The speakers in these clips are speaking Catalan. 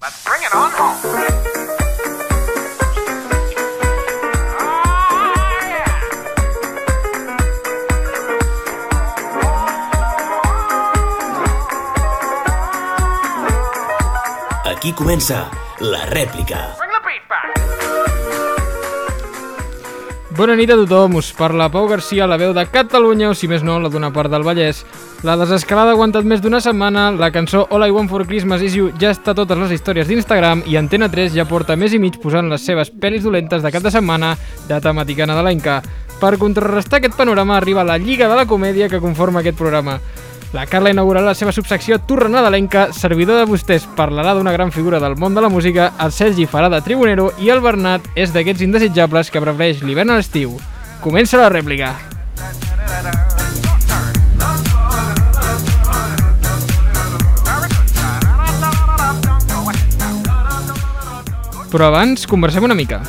Let's bring it on home. Oh, yeah. Aquí comença la rèplica. Bring the beat back. Bona nit a tothom, us parla Pau Garcia, la veu de Catalunya, o si més no, la d'una part del Vallès. La desescalada ha aguantat més d'una setmana, la cançó All I Want For Christmas Is You ja està a totes les històries d'Instagram i Antena 3 ja porta més i mig posant les seves pel·lis dolentes de cap de setmana de temàtica nadalenca. Per contrarrestar aquest panorama arriba la Lliga de la Comèdia que conforma aquest programa. La Carla inaugurarà la seva subsecció Turra Nadalenca, servidor de vostès parlarà d'una gran figura del món de la música, el Sergi farà de tribunero i el Bernat és d'aquests indesitjables que prefereix l'hivern a l'estiu. Comença la rèplica. Però abans, conversem una mica.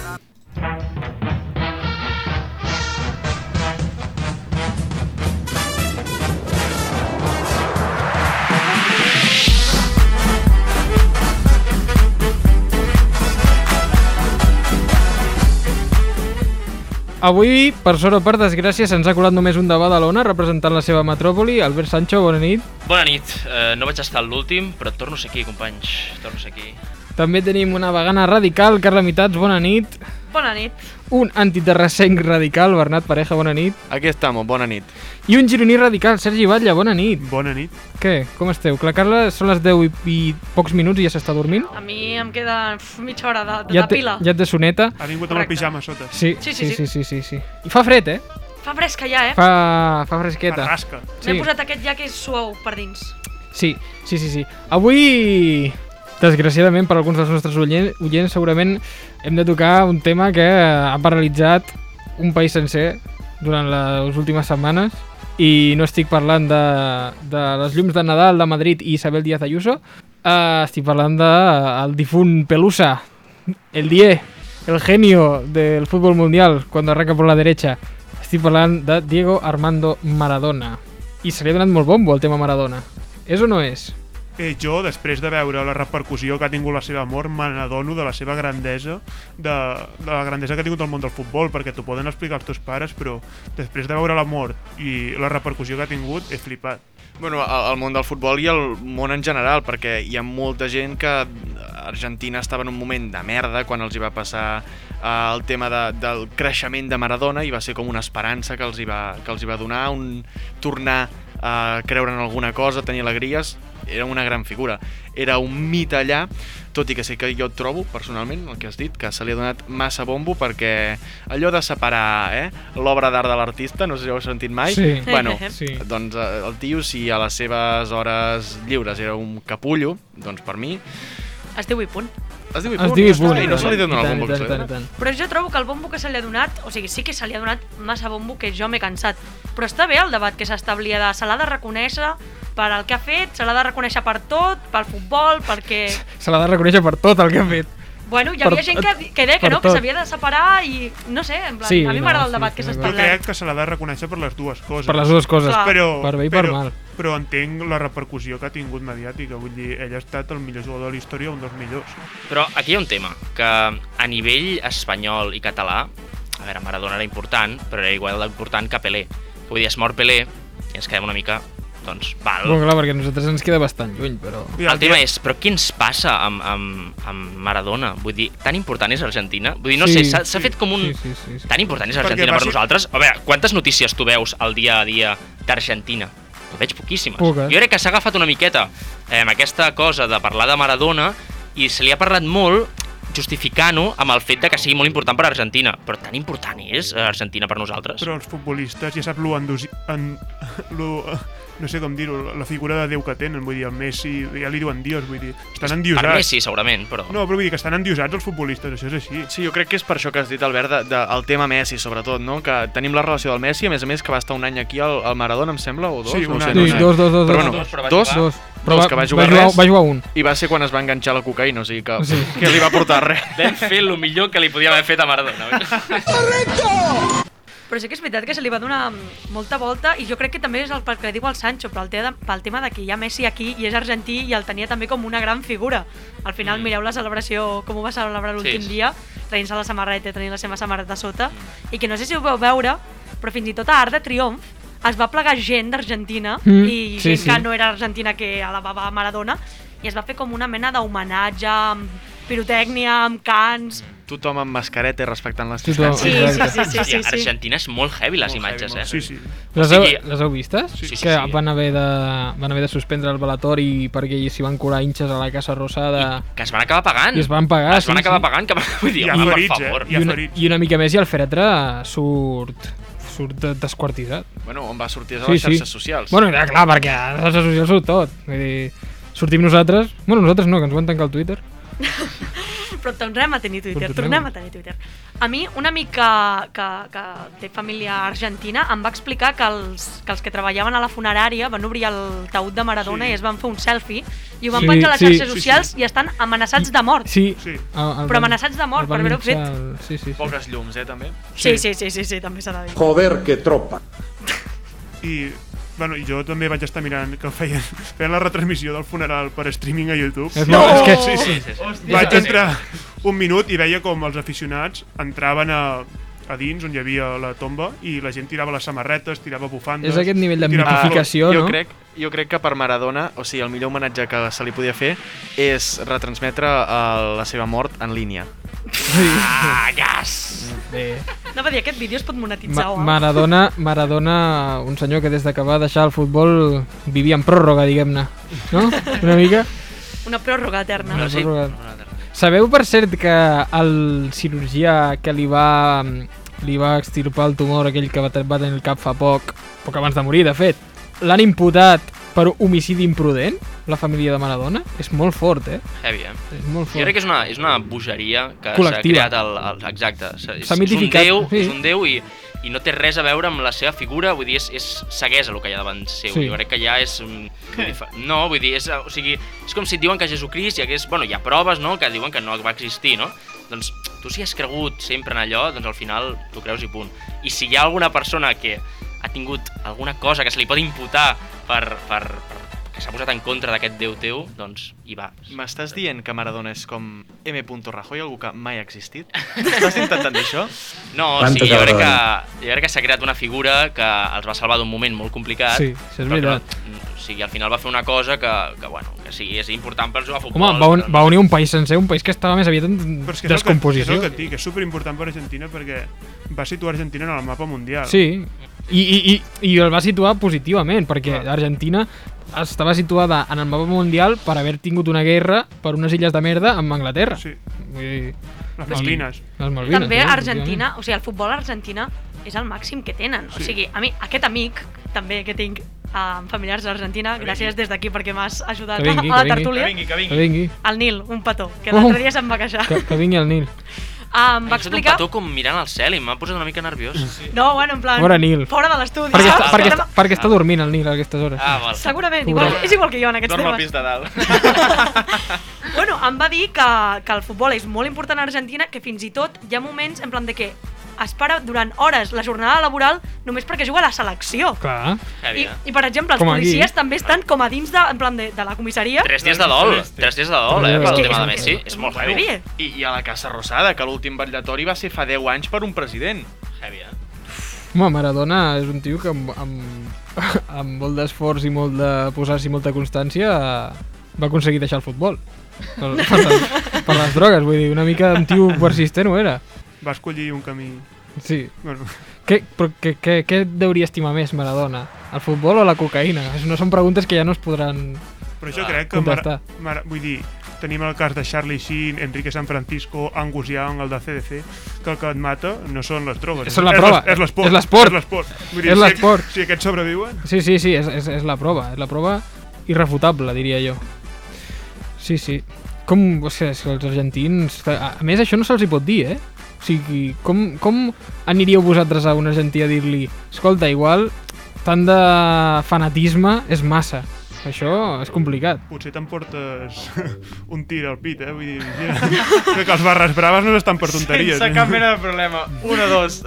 Avui, per sort o per desgràcia, se'ns ha colat només un de Badalona representant la seva metròpoli. Albert Sancho, bona nit. Bona nit, uh, no vaig estar a l'últim, però torno a ser aquí, companys, torno a ser aquí. També tenim una vegana radical, Carla Mitats, bona nit. Bona nit. Un antiterrassenc radical, Bernat Pareja, bona nit. Aquí estamos, bona nit. I un gironí radical, Sergi Batlle, bona nit. Bona nit. Què, com esteu? Que La Carla són les 10 i, i pocs minuts i ja s'està dormint. A mi em queda uf, mitja hora de, de, Ja de pila. ja et de soneta. Ha vingut amb el Correcte. pijama a sota. Sí sí Sí, sí, sí, sí, sí, sí, sí. I fa fred, eh? Fa fresca ja, eh? Fa, fa Es fresqueta. rasca. M'he Sí. posat aquest ja que és suau per dins. Sí, sí, sí, sí. Avui, desgraciadament, per alguns dels nostres oients, oients segurament hem de tocar un tema que ha paralitzat un país sencer durant les últimes setmanes i no estic parlant de, de les llums de Nadal de Madrid i Isabel Díaz Ayuso, uh, estic parlant del de, eh, el difunt Pelusa, el Die, el genio del fútbol mundial cuando arranca por la derecha. Estic parlant de Diego Armando Maradona. I se li ha donat molt bombo al tema Maradona. És o no és? Eh, jo, després de veure la repercussió que ha tingut la seva mort, me n'adono de la seva grandesa, de, de la grandesa que ha tingut el món del futbol, perquè t'ho poden explicar els teus pares, però després de veure la mort i la repercussió que ha tingut, he flipat. Bueno, el, el món del futbol i el món en general, perquè hi ha molta gent que Argentina estava en un moment de merda quan els hi va passar eh, el tema de, del creixement de Maradona i va ser com una esperança que els hi va, que els hi va donar, un tornar eh, a creure en alguna cosa, tenir alegries, era una gran figura. Era un mite allà, tot i que sé que jo trobo, personalment, el que has dit, que se li ha donat massa bombo perquè allò de separar eh, l'obra d'art de l'artista, no sé si ho heu sentit mai, Sí. bueno, Sí. doncs eh, el tio, si a les seves hores lliures era un capullo, doncs per mi... Es diu i punt. Es diu Es diu Ipun. I no se li I donen tant, el i tant, i tant, i bombo. tant. Però jo trobo que el bombo que se li ha donat, o sigui, sí que se li ha donat massa bombo que jo m'he cansat. Però està bé el debat que s'establia de se l'ha de reconèixer per el que ha fet, se l'ha de reconèixer per tot, pel futbol, perquè... Se l'ha de reconèixer per tot el que ha fet. Bueno, hi Per havia gent que, tot, que deia per que no, tot. que s'havia de separar i... No sé, en plan, Sí, a mi no, m'agrada sí, el debat que estic s'està Jo d'acord. donant. crec que se l'ha de reconèixer per les dues coses. Per les dues coses. Clar. Però, Per bé i per però, mal. Però entenc la repercussió que ha tingut mediàtica. Vull dir, ell ha estat el millor jugador de la història, un dels millors. Però aquí hi ha un tema, que a nivell espanyol i català, a veure, Maradona era important, però era igual d'important que Pelé. Vull dir, es mor Pelé i ens quedem una mica, doncs, val. Bon, clar, perquè a nosaltres ens queda bastant lluny, però... I El tema és, però què ens passa amb, amb, amb Maradona? Vull dir, tan important és Argentina? Vull dir, no Sí, sé, s'ha s'ha sí, fet com un... sí, sí, sí, sí. Tan important és Perquè Argentina va per ser- nosaltres? A veure, quantes notícies tu veus al dia a dia d'Argentina? En veig poquíssimes. Poques. Jo crec que s'ha agafat una miqueta eh, amb aquesta cosa de parlar de Maradona i se li ha parlat molt justificant-ho amb el fet de que sigui molt important per Argentina. Però tan important és eh, Argentina per nosaltres? Però els futbolistes ja sap lo, endosi... en... lo... no sé com dir-ho, la figura de Déu que tenen, vull dir, el Messi, ja li diuen Dios, vull dir, estan endiosats. per Messi, segurament, però... No, però vull dir que estan endiosats els futbolistes, això és així. Sí, jo crec que és per això que has dit, Albert, de, de, el tema Messi, sobretot, no? Que tenim la relació del Messi, a més a més que va estar un any aquí al, al Maradona, em sembla, o dos? Sí, no ho un sé, any. no ho Sí, sé. dos, dos, dos, Però dos. bueno, Dos, però va dos, jugar. Dos. Però Dos, va, que va jugar va jugar, res. va jugar un. i va ser quan es va enganxar la cocaïna, o sigui que, Sí. sí. que li va portar res. Vam fer el millor que li podíem haver fet a Maradona. Però Però sí que és veritat que se li va donar molta volta i jo crec que també és el pel que diu el Sancho, pel, te pel tema de que hi ha Messi aquí i és argentí i el tenia també com una gran figura. Al final, Mm. mireu la celebració, com ho va celebrar l'últim Sí, sí. dia, traient-se la samarreta, tenint la seva samarreta a sota, i que no sé si ho veu veure, però fins i tot a Art de Triomf es va plegar gent d'Argentina Mm, i sí, gent sí. que no era argentina que alabava Maradona i es va fer com una mena d'homenatge amb pirotècnia, amb cants... Tothom amb mascareta i respectant les Tothom, distàncies. Sí, sí, exacte. sí, sí, sí, sí. Argentina és molt heavy, les Molt imatges, heavy, molt eh? Sí, sí. Les, O heu, sigui- les heu vistes? Sí, sí, que sí. van haver de, van haver de suspendre el velatori perquè s'hi van colar hinxes a la Casa Rosada Que es van acabar pagant. i es van pagar. Es van sí, acabar sí. pagant, que van... Vull dir, I home, per ferits, eh? favor. I I una, ferits. I una mica més i el feretre surt, surt de- desquartitzat. Bueno, on va sortir a Sí, les sí. xarxes socials. Bueno, ja, clar, perquè a les xarxes socials surt tot. Vull dir, sortim nosaltres... Bueno, nosaltres no, que ens van tancar el Twitter. Però tornem a tenir Twitter, Però tornem. tornem a tenir Twitter. A mi, un amic que, que, que té família argentina em va explicar que els, que els que treballaven a la funerària van obrir el taüt de Maradona Sí. i es van fer un selfie i ho van Sí, penjar a les sí, xarxes sí, socials i estan amenaçats de mort. Sí. El, Sí. el Però van- amenaçats de mort el van per haver-ho fet. linxar el- Sí, sí, sí. Poques llums, eh, també. Sí, sí, sí, sí, sí, també s'ha de dir. Joder, que tropa. I, bueno, jo també vaig estar mirant que feien, feien la retransmissió del funeral per streaming a YouTube. És molt- és que- Sí, sí, sí. Vaig entrar un minut i veia com els aficionats entraven a, a dins, on hi havia la tomba, i la gent tirava les samarretes, tirava bufandes... És aquest nivell de tirava flors. mitificació, Ah, jo no? Crec, jo crec que per Maradona, o sigui, el millor homenatge que se li podia fer és retransmetre eh, la seva mort en línia. Ah, gas! Bé. Anava a dir, aquest vídeo es pot monetitzar, Eh. Ma o... Maradona, Maradona, un senyor que des de que va deixar el futbol vivia en pròrroga, diguem-ne. No? Una mica? Una pròrroga eterna. No No, sé. sí. Sabeu, per cert, que el cirurgià que li va, li va extirpar el tumor, aquell que va, te- va tenir el cap fa poc, poc abans de morir, de fet, l'han imputat per homicidi imprudent, la família de Maradona? És molt fort, eh? Heavy, eh? És molt Jo fort. crec que és una, és una bogeria que s'ha Col·lectiva. creat al, al exacte. S'ha és- és mitificat, Un déu, sí. És un déu i, i no té res a veure amb la seva figura, vull dir, és, és ceguesa el que hi ha davant seu. Sí. Jo crec que ja és... mm, vull dir, fa- No, vull dir, és, eh, o sigui, és com si et diuen que Jesucrist hi hagués... Bueno, hi ha proves, no?, que diuen que no va existir, no? Doncs tu si has cregut sempre en allò, doncs al final tu creus i punt. I si hi ha alguna persona que ha tingut alguna cosa que se li pot imputar per, per, per que s'ha posat en contra d'aquest déu teu, doncs hi va. M'estàs dient que Maradona és com M. Rajoy, algú que mai ha existit? Estàs intentant dir això? No, Quantes sí, jo crec, que, vegades? jo crec que s'ha creat una figura que els va salvar d'un moment molt complicat. Sí, això és però que no- veritat. o sigui, al final va fer una cosa que, que bueno, que sí, és important per jugar a futbol. Home, va, un, però- va unir un país sencer, un país que estava més aviat en Però és que és el que- descomposició. És el que et dic, és superimportant per Argentina perquè va situar Argentina en el mapa mundial. Sí, i, i, i, i el va situar positivament, perquè Clar. l'Argentina estava situada en el mapa mundial per haver tingut una guerra per unes illes de merda amb Anglaterra. Sí, Vull dir, les Malvines. les Malvines. També sí, Argentina, o sigui, el futbol argentina és el màxim que tenen. O Sí. sigui, a mi, aquest amic, també, que tinc amb familiars d'Argentina, gràcies des d'aquí perquè m'has ajudat Que vingui, a que la vingui. tertúlia. que efectivament. Que vingui, El Nil, un petó, que Oh. l'altre dia se'n va queixar. que, que vingui el Nil. Ah, em va He fet un explicar... petó com mirant al cel i m'ha posat una mica nerviós. Sí. No, bueno, en plan... Pobre Nil. Fora de l'estudi. Perquè, saps? està, perquè, Segurament- està, perquè està dormint el Nil a aquestes hores. Ah, val. Segurament, igual, és igual que jo en aquests Dorm al temes. pis de dalt. Bueno, em va dir que, que el futbol és molt important a Argentina, que fins i tot hi ha moments en plan de que es para durant hores la jornada laboral només perquè juga a la selecció. Clar. Heavy, I, eh? I, per exemple, els Com aquí. policies també estan com a dins de, en plan de, de la comissaria. Tres dies de dol, tres dies de dol, eh, Tres pel dies. tema de És Messi. que- És molt és molt heavy. heavy. I, I a la Casa Rosada, que l'últim vetllatori va ser fa 10 anys per un president. Heavy, eh? Home, Maradona és un tio que amb, amb, amb molt d'esforç i molt de posar-s'hi molta constància eh, va aconseguir deixar el futbol. Per, per, les, per les drogues, vull dir, una mica un tio persistent ho era. Va escollir un camí... Sí. Bueno, Què, però què, què, què et deuria estimar més, Maradona? El futbol o la cocaïna? És- No són preguntes que ja no es podran... Però Ah, jo crec que... Contestar. Mara, mara, vull dir, tenim el cas de Charlie Sheen, Enrique San Francisco, Angus Young, el de CDC, que el que et mata no són les drogues. Són la prova. És l'esport. És l'esport. És l'esport. Vull És si- l'esport. Si, aquests sobreviuen... Sí, sí, sí, és, és, és la prova. És la prova irrefutable, diria jo. Sí, sí. Com... O sigui, és que els argentins... A a més, això no se'ls hi pot dir, eh? O sigui, com, com aniríeu vosaltres a un argentí a dir-li escolta, igual, tant de fanatisme és massa. Això és complicat. Potser t'emportes un tir al pit, eh? Vull dir, vigila. Crec que els barres braves no estan per tonteries. eh? Sense cap mena de problema. Una, dos.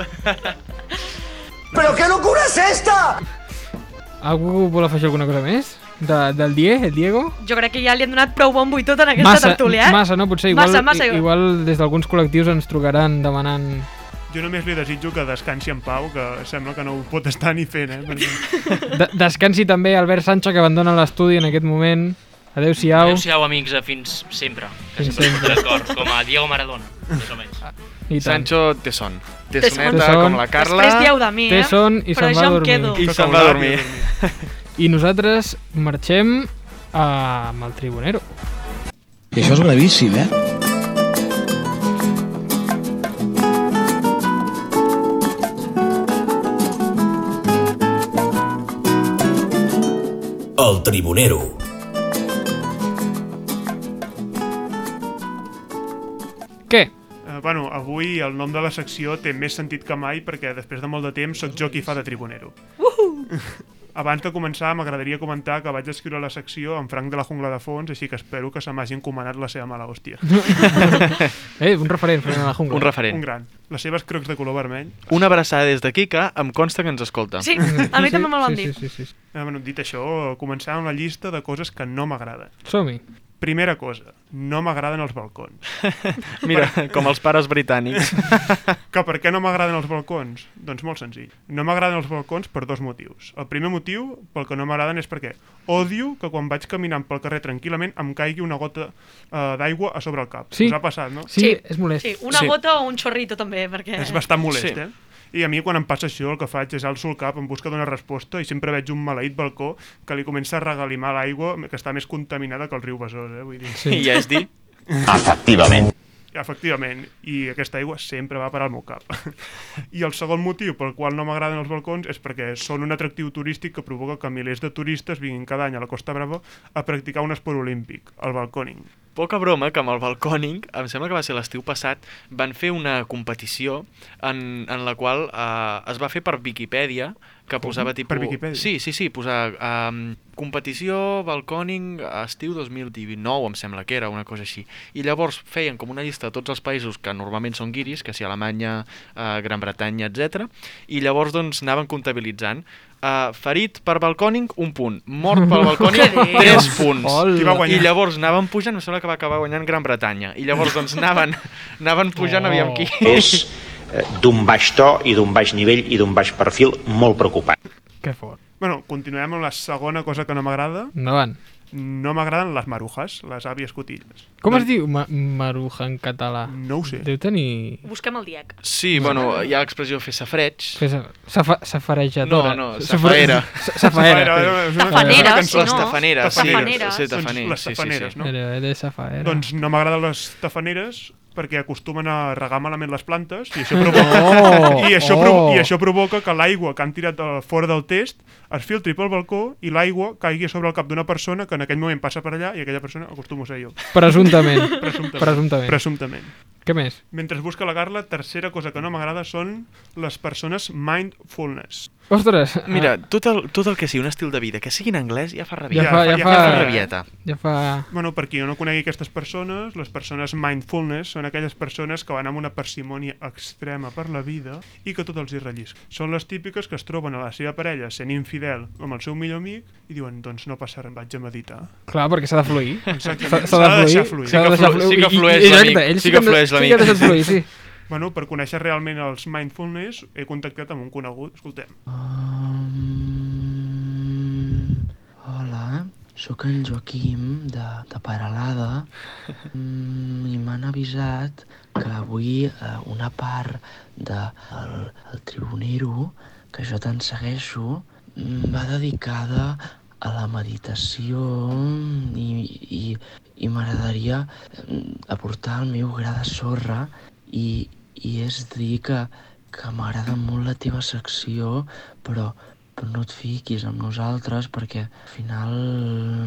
¿Pero qué locura es esta? Algú vol afegir alguna cosa més? De, del Die, el Diego? Jo crec que ja li han donat prou bombo i tot en aquesta tertúlia, eh? massa, no? Potser igual, Massa, massa. i- igual des d'alguns col·lectius ens trucaran demanant... Jo només li desitjo que descansi en pau, que sembla que no ho pot estar ni fent, eh? Perquè... De Descansi també Albert Sancho, que abandona l'estudi en aquest moment. Adéu-siau. Adéu-siau, amics, eh, fins sempre. Que Fins sempre. sempre. sempre. D'acord, com a Diego Maradona, més o menys. I tant. Sancho té son. Té Té soneta son. com la Carla. Després dieu de mi, eh? Té son i Però se'n va jo a em dormir. quedo. I Que se'n va a caurà, dormir. tio. I nosaltres marxem a... amb el Tribunero. I això és gravíssim, eh? El Tribunero. Què? Eh, bueno, avui el nom de la secció té més sentit que mai perquè després de molt de temps sóc jo qui fa de tribunero. Uh Uhuh! Abans de començar, m'agradaria comentar que vaig escriure la secció en Franc de la Jungla de Fons, així que espero que se m'hagi encomanat la seva mala hòstia. Eh, un referent, Fernan de la Un jungla. Un referent. gran. Les seves crocs de color vermell. Una abraçada des d'aquí que em consta que ens escolta. Sí, Mm. a mi també me'l van sí, dir. Sí, sí, sí. Eh, bueno, dit això, començar amb la llista de coses que no m'agraden. Som-hi. Primera cosa, no m'agraden els balcons. Mira, com els pares britànics. Que per què no m'agraden els balcons? Doncs molt senzill. No m'agraden els balcons per dos motius. El primer motiu pel que no m'agraden és perquè odio que quan vaig caminant pel carrer tranquil·lament em caigui una gota eh, d'aigua a sobre el cap. Sí. Us ha passat, no? Sí, Sí. és molest. Sí, una Sí. gota o un xorrito també, perquè... És bastant molest, Sí. eh? I a mi quan em passa això el que faig és alço el cap en busca d'una resposta i sempre veig un maleït balcó que li comença a regalimar l'aigua que està més contaminada que el riu Besòs, eh? Vull dir. I ja és dir, Efectivament, i aquesta aigua sempre va parar al meu cap. I el segon motiu pel qual no m'agraden els balcons és perquè són un atractiu turístic que provoca que milers de turistes vinguin cada any a la Costa Brava a practicar un esport olímpic, el balconing. poca broma que amb el balcòning, em sembla que va ser l'estiu passat, van fer una competició en, en la qual eh, es va fer per Viquipèdia, que posava tipus... Viquipèdia? Sí, sí, sí, posar eh, competició, balcòning, estiu 2019, em sembla que era, una cosa així. I llavors feien com una llista de tots els països que normalment són guiris, que si Alemanya, eh, Gran Bretanya, etc. I llavors doncs anaven comptabilitzant Uh, ferit per balcòning, un punt. Mort per balcòning, tres punts. Hola. Qui va guanyar? I llavors anaven pujant, em sembla que va acabar guanyant Gran Bretanya. I llavors doncs anaven, anaven pujant, Oh. oh. aviam qui. és eh, d'un baix to i d'un baix nivell i d'un baix perfil molt preocupant. Que fort. Bueno, continuem amb la segona cosa que no m'agrada. Endavant. No m'agraden les marujas, les àvies cotilles. Com es diu ma maruja en català? No ho sé. Deu tenir... Busquem el diec. Sí, bueno, hi ha l'expressió fer safreig. Fes safa safarejadora. No, no, Safra- safaera. Safaera. eh, és una- Tafanera, una si cançó. no. Les tafaneres, sí. Tafaneres. Sí, Doncs tafaner, les sí, sí, tafaneres, sí. no? Era, era safaera. Doncs no m'agraden les tafaneres perquè acostumen a regar malament les plantes i això provoca, Oh, I això, provo oh. I això provoca que l'aigua que han tirat del- fora del test es filtri pel balcó i l'aigua caigui a sobre el cap d'una persona que en aquell moment passa per allà i aquella persona acostumo a ser jo, Presumptament. presumptament. Presumptament. presumptament. Què més? Mentre busca la Carla, tercera cosa que no m'agrada són les persones mindfulness. Ostres. ah, Mira, tot el, tot el que sigui un estil de vida, que sigui en anglès, ja fa ja, rabieta. fa, ja, ja fa, fa rabieta. Ja fa... Bueno, per qui no conegui aquestes persones, les persones mindfulness són aquelles persones que van amb una parsimònia extrema per la vida i que tot els hi rellisca. Són les típiques que es troben a la seva parella sent infidel amb el seu millor amic i diuen, doncs no passa res, vaig a meditar. Clar, perquè s'ha de fluir. S'ha Exactament. s'ha de fluir. Sí s'ha de que deixar flu- sí que I- i- flueix exacte, l'amic, ell sí que han de- flueix Sí que ha l'amic. deixat fluir, sí. Bueno, per conèixer realment els mindfulness, he contactat amb un conegut, escoltem. Hola, sóc en Joaquim, de, de Peralada, mm, i m'han avisat que avui eh, una part del de, el- el tribunero, que jo te'n segueixo, mm, va dedicada a la meditació mm, i, i, i m'agradaria mm, aportar el meu gra de sorra i, i és dir que, que m'agrada molt la teva secció, però, però no et fiquis amb nosaltres perquè al final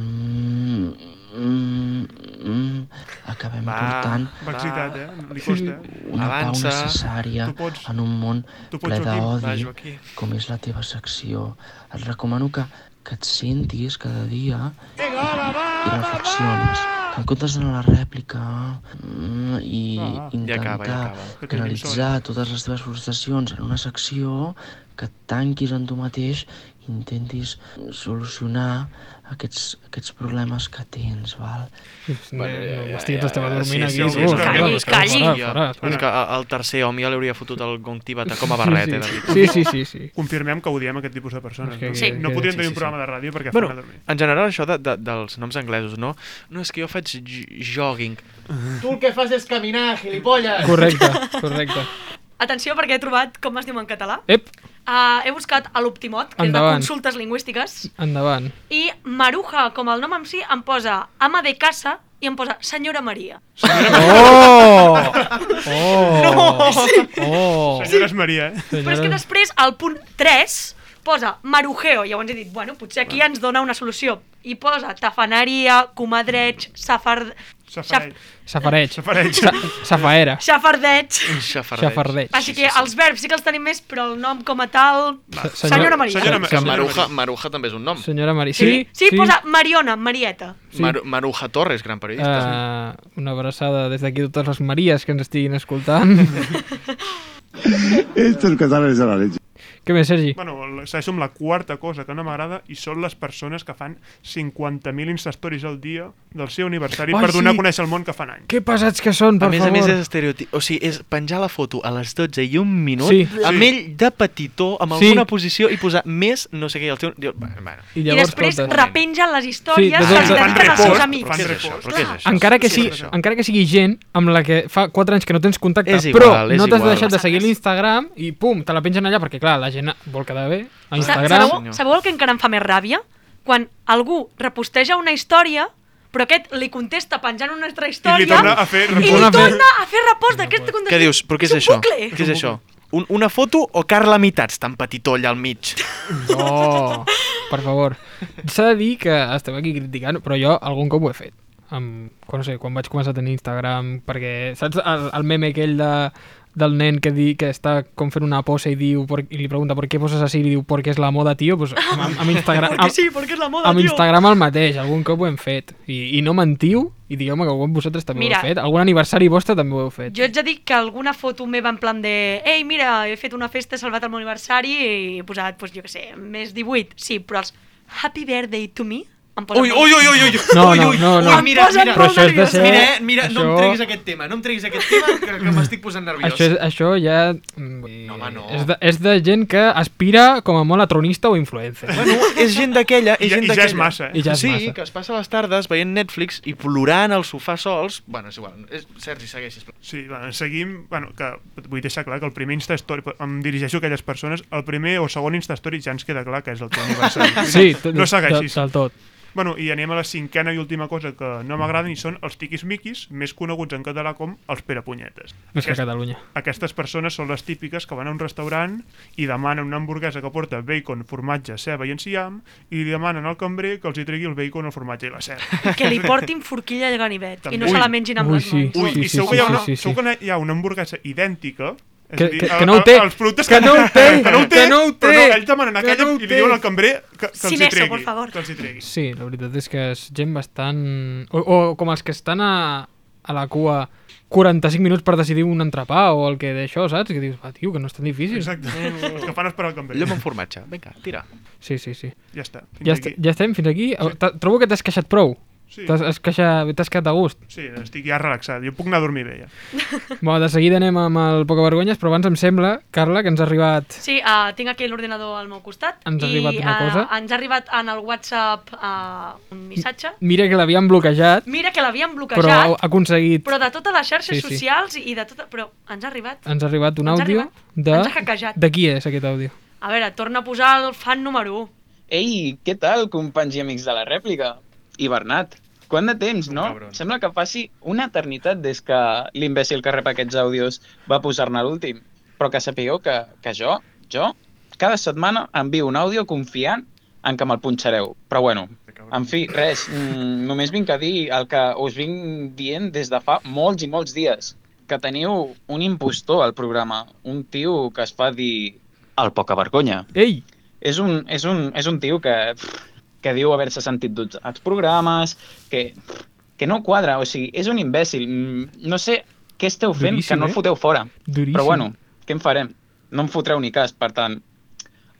mm, mm, mm, acabem Va. Va. portant Va excitat, eh? Li costa. eh? una Avança. pau necessària Tu pots. en un món Tu pots, ple Joaquim. Va, d'odi Joaquim. com és la teva secció. Et recomano que, que et sentis cada dia i reflexionis que en comptes d'anar a la rèplica mm, i Ah, ja intentar acaba, ja acaba. Que tenim canalitzar totes les teves frustracions en una secció, que et tanquis en tu mateix i intentis solucionar aquests, aquests problemes que tens, val? Bueno, hòstia, ens estem adormint aquí. sí, tu, és que- calli, és que- calli. hòstia, Fora, fora. És que a- al tercer home ja li hauria fotut el gong tibetà com a barret, eh, David? Confirmem que odiem aquest tipus de persones. que- no? Sí. No que- podríem sí, tenir sí, un sí. programa de ràdio perquè Bueno, fan a dormir. en general això de, de, dels noms anglesos, no? No, és que jo faig j- jogging. Tu el que fas és caminar, gilipolles. correcte. Atenció, perquè he trobat com es diu en català. Ep. Uh, he buscat a l'Optimot, que Endavant. és de consultes lingüístiques, Endavant. i Maruja, com el nom en si, em posa ama de casa i em posa senyora Maria. Oh! Oh! No! Sí. Oh! Senyores Maria, eh? Però és que després, al punt 3, posa marujeo. Llavors he dit, bueno, potser aquí ens dona una solució. I posa tafaneria, comadreig, safar... Safareig. Safareig. Safareig. Sa safaera. Xafardeig. Xafardeig. Així que els verbs sí que els tenim més, però el nom com a tal... Senyora Maria. Que Maruja, Maruja. Maruja també és un nom. Senyora Maria. Sí, Sí, posa Mariona, Marieta. Sí. Mar Maruja Torres, gran periodista. Uh, una abraçada des d'aquí a totes les Maries que ens estiguin escoltant. Estos catalanes de la leche. Què més, Sergi? Bueno, el- segueixo amb la quarta cosa que no m'agrada i són les persones que fan 50.000 instastories al dia del seu aniversari Ai, per donar sí. a conèixer el món que fan any. Que pesats que són, per a més favor. a més és estereotip. O sigui, és penjar la foto a les 12 i un minut Sí. amb Sí. ell de petitó, amb Sí. alguna posició i posar més no sé què. I, el teu... Diu, bueno, bueno. I I després repengen les històries Sí, de que tot- els dediquen als seus amics. Què és això? Però què és això? Encara que, Què sí, és això? encara que sigui gent amb la que fa 4 anys que no tens contacte, És igual, però és no t'has igual. deixat de seguir l'Instagram i pum, te la pengen allà perquè, clar, la gent vol quedar bé a Sa- Instagram. Sabeu, sabeu el que encara em fa més ràbia? Quan algú reposteja una història però aquest li contesta penjant una altra història torna a fer i li repost. torna a fer repost d'aquest contestació. Què dius? Però què és, un això? bucle. Què és això? Un, una foto o Carla Mitats, tan petitó allà al mig? Oh, per favor. S'ha de dir que esteu aquí criticant, però jo algun cop ho he fet. Amb, quan, no sé, quan vaig començar a tenir Instagram, perquè saps el, el meme aquell de, del nen que, di, que està com fent una posa i, diu, per, i li pregunta per què poses així i li diu perquè és la moda, tio, pues, amb, amb- amb Instagram... Perquè sí, perquè és la moda, amb tio. Instagram el mateix, algun cop ho hem fet. I, i no mentiu, i digueu-me que algun vosaltres també ho Mira. heu fet. Algun aniversari vostre també ho heu fet. Jo ets a dir que alguna foto meva en plan de ei, mira, he fet una festa, he salvat el meu aniversari i he posat, doncs, jo què sé, més 18. Sí, però els happy birthday to me em posen... Ui, ui, ui, ui, ui. No, ui, no, ui. no, no. Ui, mira, Em posen mira. Però molt això és de nerviosa. ser- Mira, eh, mira, no això- em treguis aquest tema, no em treguis aquest tema, que, que m'estic posant nerviós. Això, és, això ja... No, home, no. És de, és de gent que aspira com a molt a tronista o influencer. Bueno, és gent d'aquella... I És ja- gent i ja és d'aquella. massa, eh? I ja és sí, massa. que es passa les tardes veient Netflix i plorant al sofà sols. Bueno, és igual. És... Sergi, segueix, sisplau. Sí, bueno, seguim... Bueno, que vull deixar clar que el primer Instastory... Em dirigeixo a aquelles persones. El primer o segon Instastory ja ens queda clar que és el teu aniversari. Sí, t- no segueixis. del- del tot. Bueno, i anem a la cinquena i última cosa que no m'agraden i són els tiquis-miquis, més coneguts en català com els perepunyetes. Més que a Catalunya. Aquestes persones són les típiques que van a un restaurant i demanen una hamburguesa que porta bacon, formatge, ceba i enciam i li demanen al cambrer que els hi tregui el bacon, el formatge i la ceba. Que li portin forquilla de ganivet i no Ui. se la mengin Ui, amb les mans. Ui, Sí, i sí, sí, segur que hi ha sí, una, sí, sí. segur que hi ha una hamburguesa idèntica és Que- a dir, que- el- que no ho el- té, els productes que no ho té, que no ho té, que no ho però té, no, ells demanen que aquella no ho i li té. diuen al cambrer que, que Sin els hi eso, tregui. por favor. Que els hi tregui. Sí, la veritat és que és gent bastant... O, o com els que estan a, a la cua 45 minuts per decidir un entrepà o el que d'això, saps? Que dius, va, tio, que no és tan difícil. Exacte. Mm. Els que fan esperar el cambrer. Llom amb formatge. Vinga, tira. Sí, sí, sí. Ja està, fins Ja, est aquí. ja estem fins aquí. Sí. Trobo que t'has queixat prou. Sí. T'has has queixat, t'has quedat a gust. Sí, estic ja relaxat. Jo puc anar a dormir bé, ja. Bueno, de seguida anem amb el Poca Vergonyes, però abans em sembla, Carla, que ens ha arribat... Sí, uh, tinc aquí l'ordinador al meu costat. Ens ha arribat una eh, cosa. ens ha arribat en el WhatsApp uh, un missatge. Mira que l'havien bloquejat, Mira que l'havien bloquejat, però ha ha aconseguit... però de totes les xarxes Sí, sí, sí. socials i de tota... Però ens ha arribat. Ens ha arribat un Ens ha àudio arribat. de... Ens ha hackejat. De qui és aquest àudio? A veure, torna a posar el fan número 1. Ei, què tal, companys i amics de la rèplica? I Bernat, quant de temps, no? Sembla que passi una eternitat des que l'imbècil que rep aquests àudios va posar-ne l'últim. Però que sapigueu que, que jo, jo, cada setmana envio un àudio confiant en que me'l punxareu. Però bueno, en fi, res, mm, només vinc a dir el que us vinc dient des de fa molts i molts dies, que teniu un impostor al programa, un tio que es fa dir el poca vergonya. Ei! És un, és un, és un tio que, pff, que diu haver-se sentit dutxat als programes, que, pff, que no quadra, o sigui, és un imbècil. Mm, No sé què esteu fent, Duríssim, que no eh? el foteu fora. Duríssim. Però bueno, què en farem? No em fotreu ni cas, per tant,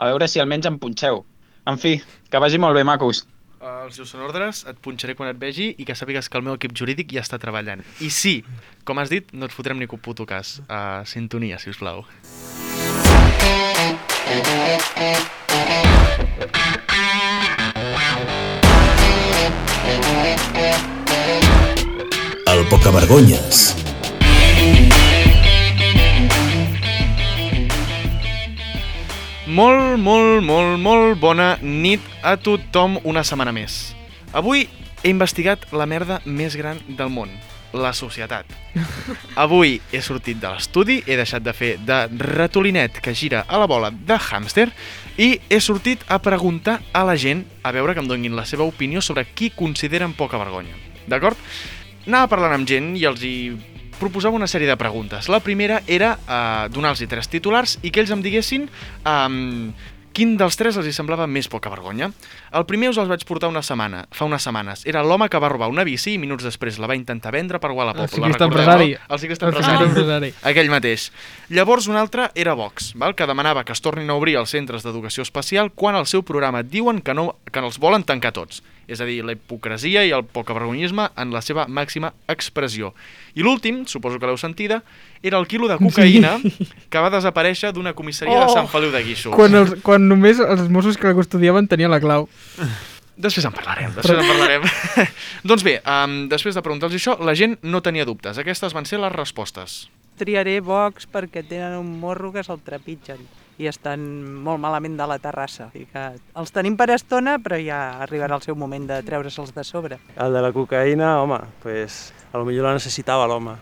a veure si almenys em punxeu. En fi, que vagi molt bé, macos. Eh, Els dius són ordres, et punxaré quan et vegi i que sàpigues que el meu equip jurídic ja està treballant. I sí, com has dit, no et fotrem ni cap puto cas. Uh, sintonia, si us plau. El Pocavergonyes. Molt, molt, molt, molt bona nit a tothom una setmana més. Avui he investigat la merda més gran del món, la societat. Avui he sortit de l'estudi, he deixat de fer de ratolinet que gira a la bola de hàmster i he sortit a preguntar a la gent a veure que em donguin la seva opinió sobre qui consideren poca vergonya. D'acord? Anava parlant amb gent i els hi proposava una sèrie de preguntes. La primera era eh, donar-los tres titulars i que ells em diguessin eh, quin dels tres els hi semblava més poca vergonya. El primer us els vaig portar una setmana, fa unes setmanes. Era l'home que va robar una bici i minuts després la va intentar vendre per Wallapop. El La ciclista recordeu, empresari. no? El ciclista El ciclista empresari. empresari. Aquell mateix. Llavors, un altre era Vox, val? que demanava que es tornin a obrir els centres d'educació especial quan al seu programa et diuen que, no, que els volen tancar tots. És a dir, la hipocresia i el pocavergonyisme en la seva màxima expressió. I l'últim, suposo que l'heu sentida, era el quilo de cocaïna que va desaparèixer d'una comissaria Oh. de Sant Feliu de Guíxols. Oh. Quan, els, quan només els Mossos que la custodiaven tenien la clau. Després en parlarem, després en parlarem. doncs bé, um, després de preguntar-los això, la gent no tenia dubtes. Aquestes van ser les respostes. Triaré Vox perquè tenen un morro que se'l trepitgen i estan molt malament de la terrassa. I que els tenim per estona, però ja arribarà el seu moment de treure-se'ls de sobre. El de la cocaïna, home, pues, a lo millor la necessitava l'home.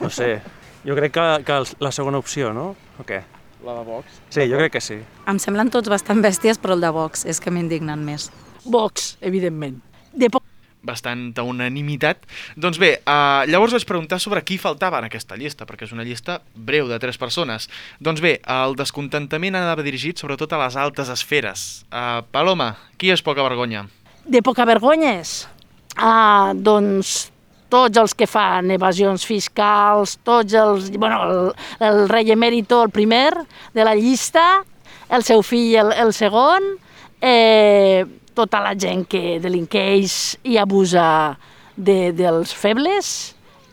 No sé. Jo crec que, que els- la segona opció, no? O què? La de Vox. Sí, jo crec que sí. Em semblen tots bastant bèsties, però el de Vox és que m'indignen més. Vox, evidentment. De poc bastanta unanimitat. Doncs bé, uh, llavors vaig preguntar sobre qui faltava en aquesta llista, perquè és una llista breu de tres persones. Doncs bé, el descontentament anava dirigit sobretot a les altes esferes. Uh, Paloma, qui és poca vergonya? De poca vergonyes? Ah, doncs tots els que fan evasions fiscals, tots els... Bueno, el, el rei emèrito, el primer de la llista, el seu fill, el, el segon, eh, tota la gent que delinqueix i abusa de, dels febles,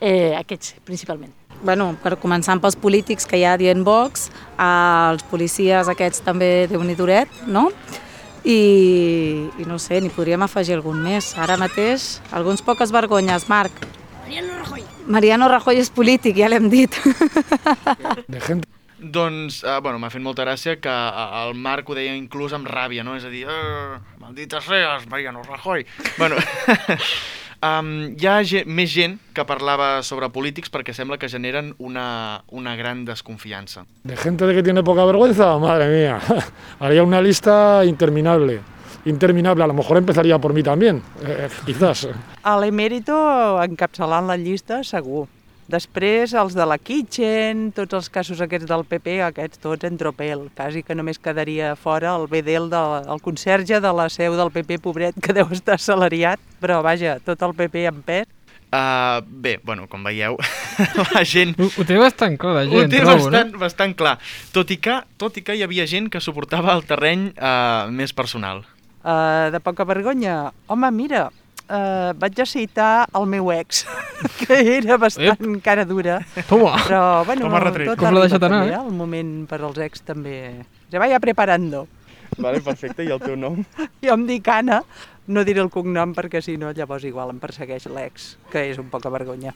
eh, aquests principalment. bueno, per començar pels polítics que hi ha dient Vox, eh, els policies aquests també de Unitoret, no? I, I no sé, n'hi podríem afegir algun més. Ara mateix, alguns poques vergonyes, Marc. Mariano Rajoy. Mariano Rajoy és polític, ja l'hem dit. Doncs, uh, bueno, m'ha fet molta gràcia que eh, el Marc ho deia inclús amb ràbia, no? És a dir, "Eh, maldita seas, Mariano Rajoy. Bueno, um, hi ha ge més gent que parlava sobre polítics perquè sembla que generen una, una gran desconfiança. De gente de que tiene poca vergüenza, madre mía. Haría una lista interminable. Interminable, a lo mejor empezaría por mí también, eh, quizás. A l'emèrito, encapçalant la llista, segur. Després, els de la Kitchen, tots els casos aquests del PP, aquests tots en tropel. Quasi que només quedaria fora el Bedel, de, el conserge de la seu del PP, pobret, que deu estar assalariat, però vaja, tot el PP en pes. Uh, bé, bueno, com veieu, la gent... Ho, ho té bastant clar, la gent, ho té trobo, bastant, no? bastant clar. Tot i, que, tot i que hi havia gent que suportava el terreny uh, més personal. Uh, de poca vergonya. Home, mira, uh, vaig a citar el meu ex, que era bastant Ep. cara dura. Toma. Però, bueno, Toma, retret. tot Com l'ha arriba deixat anar, també, eh? El moment per als ex també... Se vaya preparando. Vale, perfecte, i el teu nom? Jo em dic Anna, no diré el cognom perquè si no llavors igual em persegueix l'ex, que és un poca vergonya.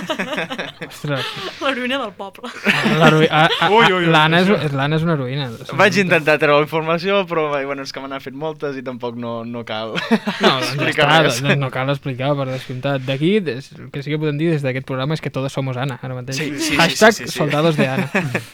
no? Ostres, L'heroïna del poble. l'heroi- a- a- a- Ui, ui, ui, l'Anna és, això. és- l'Anna és una heroïna. Vaig intentar treure informació, però bé, bueno, és que me n'ha fet moltes i tampoc no, no cal No, doncs ja està, doncs no cal explicar per descomptat. D'aquí, des- el que sí que podem dir des d'aquest programa és que todos somos Ana, ara mateix. Sí, sí, sí, Hashtag sí, sí, sí. soldados de Ana.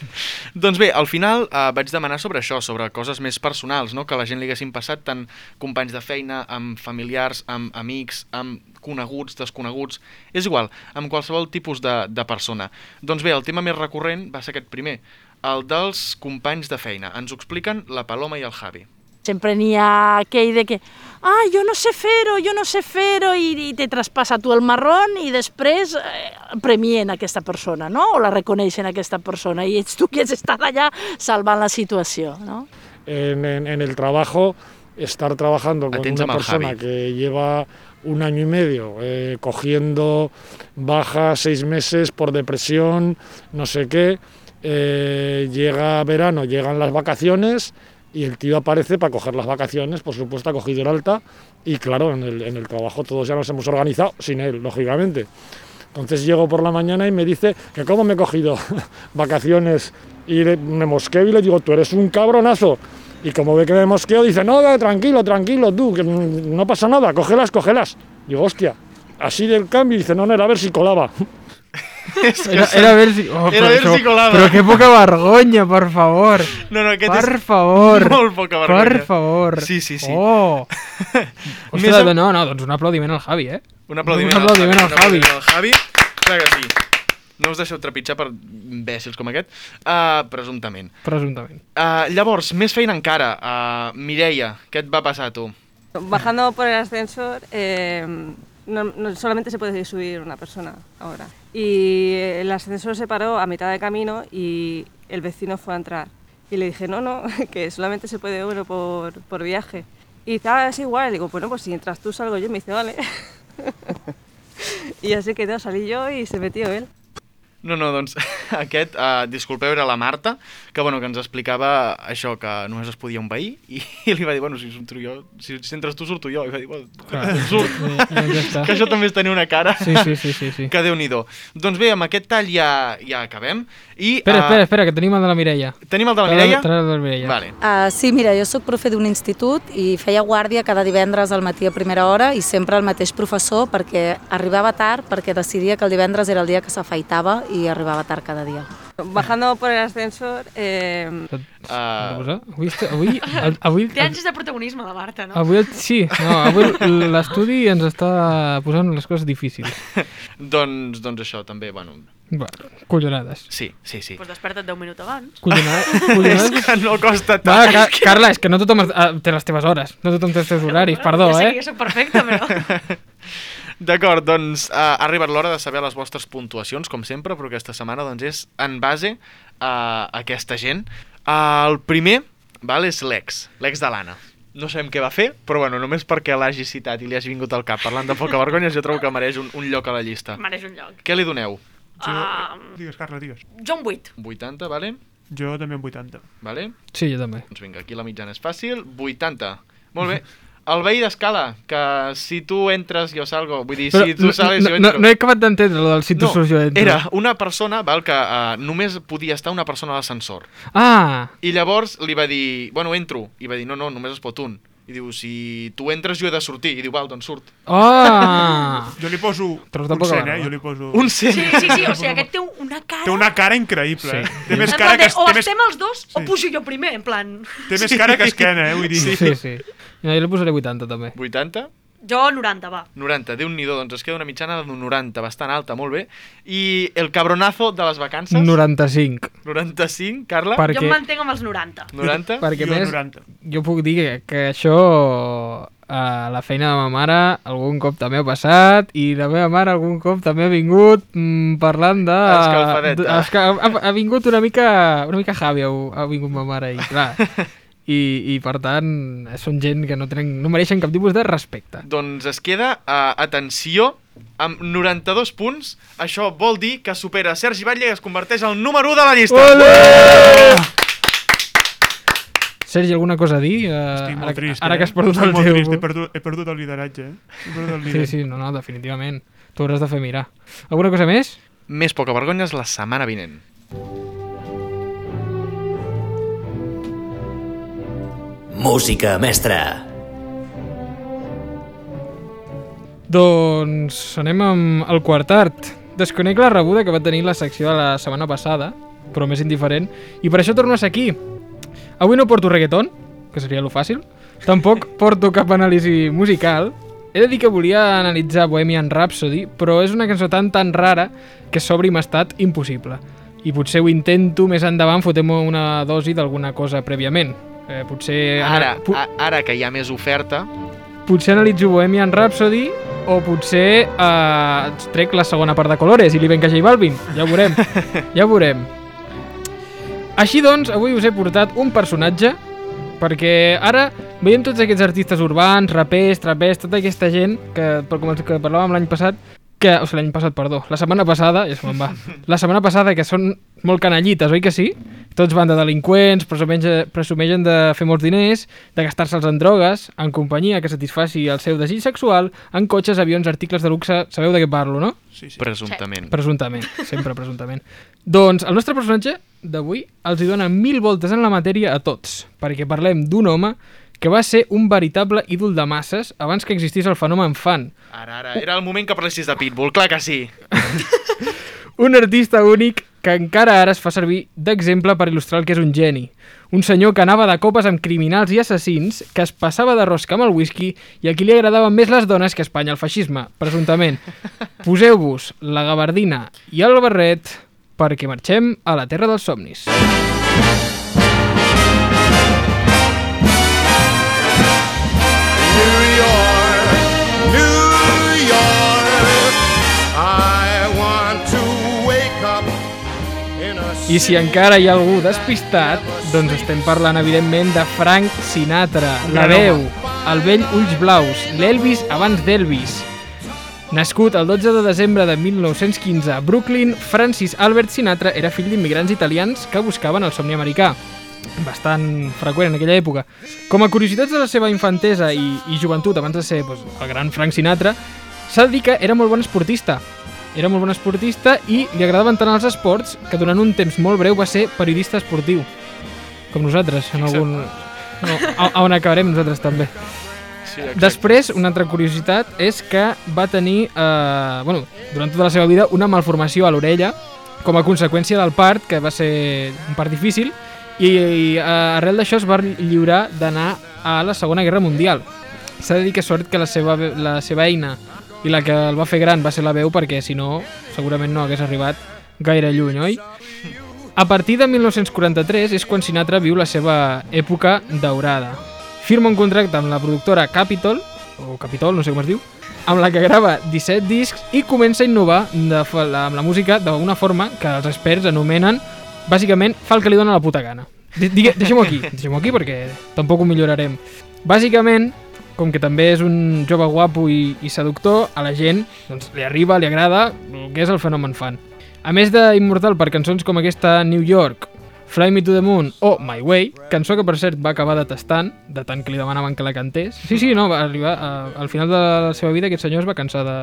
doncs bé, al final eh, vaig demanar sobre això, sobre coses més personals, no? que la gent li haguessin passat tant companys de feina, amb familiars, amb amics, amb coneguts, desconeguts, és igual, amb qualsevol tipus de, de persona. Doncs bé, el tema més recurrent va ser aquest primer, el dels companys de feina. Ens ho expliquen la Paloma i el Javi. Sempre n'hi ha aquell de que ah, jo no sé fer-ho, jo no sé fer-ho, i, i te traspassa tu el marrón i després eh, premien aquesta persona, no? O la reconeixen aquesta persona i ets tu qui has estat allà salvant la situació, no? en, en- en el trabajo, estar trabajando con Atenta, una mal persona Javi. que lleva un año y medio eh, cogiendo bajas seis meses por depresión, no sé qué, eh, llega verano, llegan las vacaciones y el tío aparece para coger las vacaciones, por supuesto ha cogido el alta y claro, en el, en el trabajo todos ya nos hemos organizado sin él, lógicamente. Entonces llego por la mañana y me dice que cómo me he cogido vacaciones y le- me mosqueo y le digo, tú eres un cabronazo. Y como ve que me mosqueo, dice, no, no, tranquilo, tranquilo, tú, que mm, no pasa nada, cógelas, cógelas. Digo, hostia, así del cambio, y dice, no, no, era a ver si colaba. Era, era ver si... Oh, Era però ver això- si colava. Però que poca vergonya, per favor. No, no, aquest per és favor. molt poca vergonya. Per favor. Sí, sí, sí. Oh. Més Ostres, am- no, no, doncs un aplaudiment al Javi, eh? Un aplaudiment, un aplaudiment al Javi. Un aplaudiment al Javi. Clar que sí. No us deixeu trepitjar per imbècils com aquest. Uh, presumptament. Presumptament. Uh, llavors, més feina encara. Uh, Mireia, què et va passar a tu? Bajando por el ascensor, eh, no, no- solamente se puede subir una persona ahora. Y el ascensor se paró a mitad de camino y el vecino fue a entrar. Y le dije, no, no, que solamente se puede uno por, por viaje. Y dice, ah, es igual. digo, bueno, pues si entras tú salgo yo. Y me dice, vale. y así quedó, salí yo y se metió él. No, no, doncs aquest, uh, disculpeu, era la Marta, que, bueno, que ens explicava això, que només es podia un veí, i, i li va dir, bueno, si surto jo, si, si entres tu, surto jo. I va dir, bueno, Clar. doncs surt. Eh, ja està. que això també és tenir una cara. Sí, sí, sí, sí, sí. Que Déu-n'hi-do. Doncs bé, amb aquest tall ja, ja acabem. I, Espera, ah, espera, espera, que tenim el de la Mireia. Tenim el de la Tenim el Mireia? de- tenim el de la Mireia. Vale. Uh, sí, mira, jo sóc profe d'un institut i feia guàrdia cada divendres al matí a primera hora i sempre el mateix professor perquè arribava tard perquè decidia que el divendres era el dia que s'afaitava i arribava tard cada dia. Bajando por el ascensor, eh, Ah. Uh... Avui, està- avui, el- avui, Té anys de protagonisme, la Marta, no? avui, el- sí, no, avui l'estudi ens està posant les coses difícils. Doncs, doncs això, també, bueno... Va, collonades. Sí, sí, sí. Pues desperta't 10 minuts abans. Collonades, collonades. És que no costa Va, tant. Ca Carla, és que no tothom es- ah, té les teves hores, no tothom té els teus horaris, perdó, ja sé eh? que jo soc perfecta, però... D'acord, doncs eh, ha arribat l'hora de saber les vostres puntuacions, com sempre, però aquesta setmana doncs, és en base a aquesta gent. El primer val, és l'ex, l'ex de l'Anna. No sabem què va fer, però bueno, només perquè l'hagi citat i li hagi vingut al cap parlant de poca vergonya, jo trobo que mereix un, un lloc a la llista. Mereix un lloc. Què li doneu? Jo- Ah. Digues, Carla, digues. Jo un 8. 80, vale? Jo també amb 80. Vale? Sí, jo també. Doncs vinga, aquí la mitjana és fàcil, 80. Molt bé. El veí d'escala, que si tu entres jo salgo, vull dir, si tu sales no, jo no, entro. no he acabat d'entendre lo del si tu No, surts jo entro. Era una persona val, que uh, només podia estar una persona a l'ascensor. Ah, I llavors li va dir, bueno, entro. I va dir, no, no, només es pot un. I diu, si tu entres jo he de sortir. I diu, val, doncs surt. Ah! jo li poso Tros de un poca 100, eh? barba. Jo li poso... Un 100? Sí, sí, sí, o sigui, aquest té una cara... Té una cara increïble, sí. eh? Té més En cara plan de, que... O Té més, estem els dos, o pujo jo primer, en plan... té més cara que esquena, eh? Vull dir... sí, sí. sí. No, jo li posaré 80, també. 80? Jo 90, va. 90, déu nhi -do, doncs es queda una mitjana d'un 90, bastant alta, molt bé. I el cabronazo de les vacances? 95. 95, Carla? Perquè... Jo em mantenc amb els 90. 90? Perquè, a més, jo puc dir que, que això a la feina de ma mare algun cop també ha passat i la meva mare algun cop també ha vingut mm, parlant de... Escalfadeta. d- esca- Ha, ha vingut una mica, una mica Javi, ha, ha vingut ma mare i clar... I, i per tant eh, són gent que no, tenen, no mereixen cap tipus de respecte Doncs es queda, uh, atenció, amb 92 punts. Això vol dir que supera Sergi Batlle i es converteix al número 1 de la llista. Olé! Sergi, alguna cosa a dir? Eh, Estic molt ara, que- trist, ara eh? que has perdut Estic el molt teu... Trist. He, perdut, he perdut el lideratge, eh? He perdut el Sí, lideratge. sí, no, no, definitivament. T'ho hauràs de fer mirar. Alguna cosa més? Més poca vergonya és la setmana vinent. Música mestra. Doncs anem amb el quartart. Desconec la rebuda que va tenir la secció de la setmana passada, però més indiferent, i per això torno a ser aquí. Avui no porto reggaeton, que seria lo fàcil, tampoc porto cap anàlisi musical, he de dir que volia analitzar Bohemian Rhapsody, però és una cançó tan tan rara que sobre m'ha estat impossible. I potser ho intento més endavant fotem una dosi d'alguna cosa prèviament. Eh, potser... Ara, a, ara que hi ha més oferta, potser analitzo Bohemian Rhapsody o potser eh, trec la segona part de Colores i li venc a J Balvin. Ja ho veurem. ja ho veurem. Així doncs, avui us he portat un personatge perquè ara veiem tots aquests artistes urbans, rapers, trapers, tota aquesta gent que, per- com els que parlàvem l'any passat, que, o sigui, l'any passat, perdó, la setmana passada, ja se me'n va, la setmana passada que són molt canallites, oi que sí? Tots van de delinqüents, presumeixen, presumeixen de fer molts diners, de gastar-se'ls en drogues, en companyia que satisfaci el seu desig sexual, en cotxes, avions, articles de luxe, sabeu de què parlo, no? sí, sí. presumptament. Presumptament, sempre presumptament. Doncs el nostre personatge d'avui els hi dona mil voltes en la matèria a tots, perquè parlem d'un home que va ser un veritable ídol de masses abans que existís el fenomen fan. Ara, ara, era el moment que parlessis de Pitbull, clar que sí. Un artista únic que encara ara es fa servir d'exemple per il·lustrar el que és un geni. Un senyor que anava de copes amb criminals i assassins, que es passava de rosca amb el whisky i a qui li agradaven més les dones que a Espanya el feixisme, presumptament. Poseu-vos la gabardina i el barret perquè marxem a la terra dels somnis. I want to wake up in a I si encara hi ha algú despistat, doncs estem parlant, evidentment, de Frank Sinatra, Un la gran veu, home. el vell Ulls Blaus, l'Elvis abans d'Elvis. Nascut el 12 de desembre de 1915 a Brooklyn, Francis Albert Sinatra era fill d'immigrants italians que buscaven el somni americà bastant freqüent en aquella època. Com a curiositats de la seva infantesa i, i joventut, abans de ser doncs, el gran Frank Sinatra, s'ha de dir que era molt bon esportista. Era molt bon esportista i li agradaven tant els esports que durant un temps molt breu va ser periodista esportiu. Com nosaltres, en algun... No, a- a on acabarem nosaltres també. Sí, exacte. Després, una altra curiositat és que va tenir, eh, bueno, durant tota la seva vida, una malformació a l'orella com a conseqüència del part, que va ser un part difícil, i, eh, arrel d'això es va lliurar d'anar a la Segona Guerra Mundial. S'ha de dir que sort que la seva, ve- la seva eina i la que el va fer gran va ser la veu, perquè si no, segurament no hagués arribat gaire lluny, oi? A partir de 1943 és quan Sinatra viu la seva època daurada. Firma un contracte amb la productora Capitol, o Capitol, no sé com es diu, amb la que grava 17 discs i comença a innovar de, fa- la- amb la música d'una forma que els experts anomenen, bàsicament, fa el que li dona la puta gana. Di- digue- Deixem-ho aquí, deixem-ho aquí perquè tampoc ho millorarem. Bàsicament, com que també és un jove guapo i, i seductor, a la gent doncs, li arriba, li agrada, el que és el fenomen fan. A més d'immortal per cançons com aquesta New York, Fly Me to the Moon o My Way, cançó que per cert va acabar detestant, de tant que li demanaven que la cantés. Sí, sí, no, va arribar a, al final de la seva vida aquest senyor es va cansar de...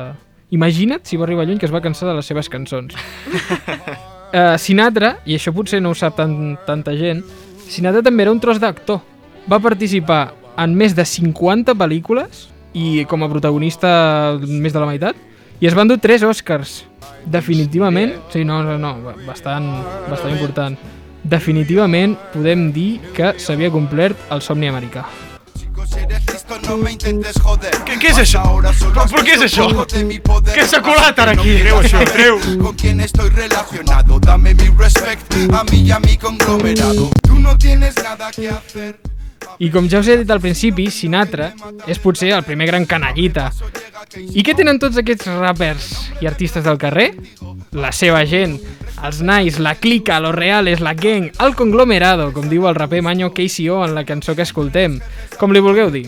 Imagina't si va arribar lluny que es va cansar de les seves cançons. uh, Sinatra, i això potser no ho sap tan, tanta gent, Sinatra també era un tros d'actor. Va participar en més de 50 pel·lícules i com a protagonista més de la meitat i es van dur 3 Oscars. Definitivament, sí, no, no, no, ba- bastant, bastant important. Definitivament podem dir que s'havia complert el somni americà. No me intentes joder. ¿Qué, qué es eso? ¿Por qué es eso? ¿Qué es xocolata aquí? Treu, això, treu. Con quien estoy relacionado, dame mi respect a mí y a mi conglomerado. Tú no tienes nada que hacer. I com ja us he dit al principi, Sinatra és potser el primer gran canallita. I què tenen tots aquests rappers i artistes del carrer? La seva gent, els nais, la clica, los reales, la gang, el conglomerado, com diu el raper Manyo KCO en la cançó que escoltem, com li vulgueu dir.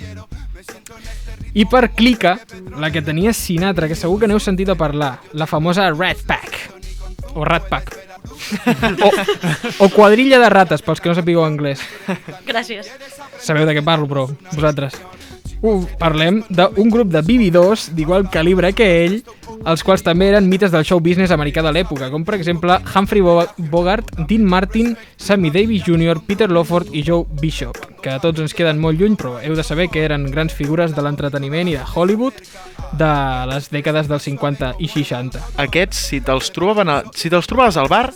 I per clica, la que tenia Sinatra, que segur que n'heu sentit a parlar, la famosa Rat Pack. O Rat Pack. o, o quadrilla de rates, pels que no sapigueu anglès. Gràcies. Sabeu de què parlo, però, vosaltres. Uh, parlem d'un grup de vividors d'igual calibre que ell, els quals també eren mites del show business americà de l'època, com per exemple Humphrey Bo- Bogart, Dean Martin, Sammy Davis Jr., Peter Lawford i Joe Bishop, que a tots ens queden molt lluny, però heu de saber que eren grans figures de l'entreteniment i de Hollywood de les dècades dels 50 i 60. Aquests, si te'ls trobaven a, si te'ls trobaves al bar,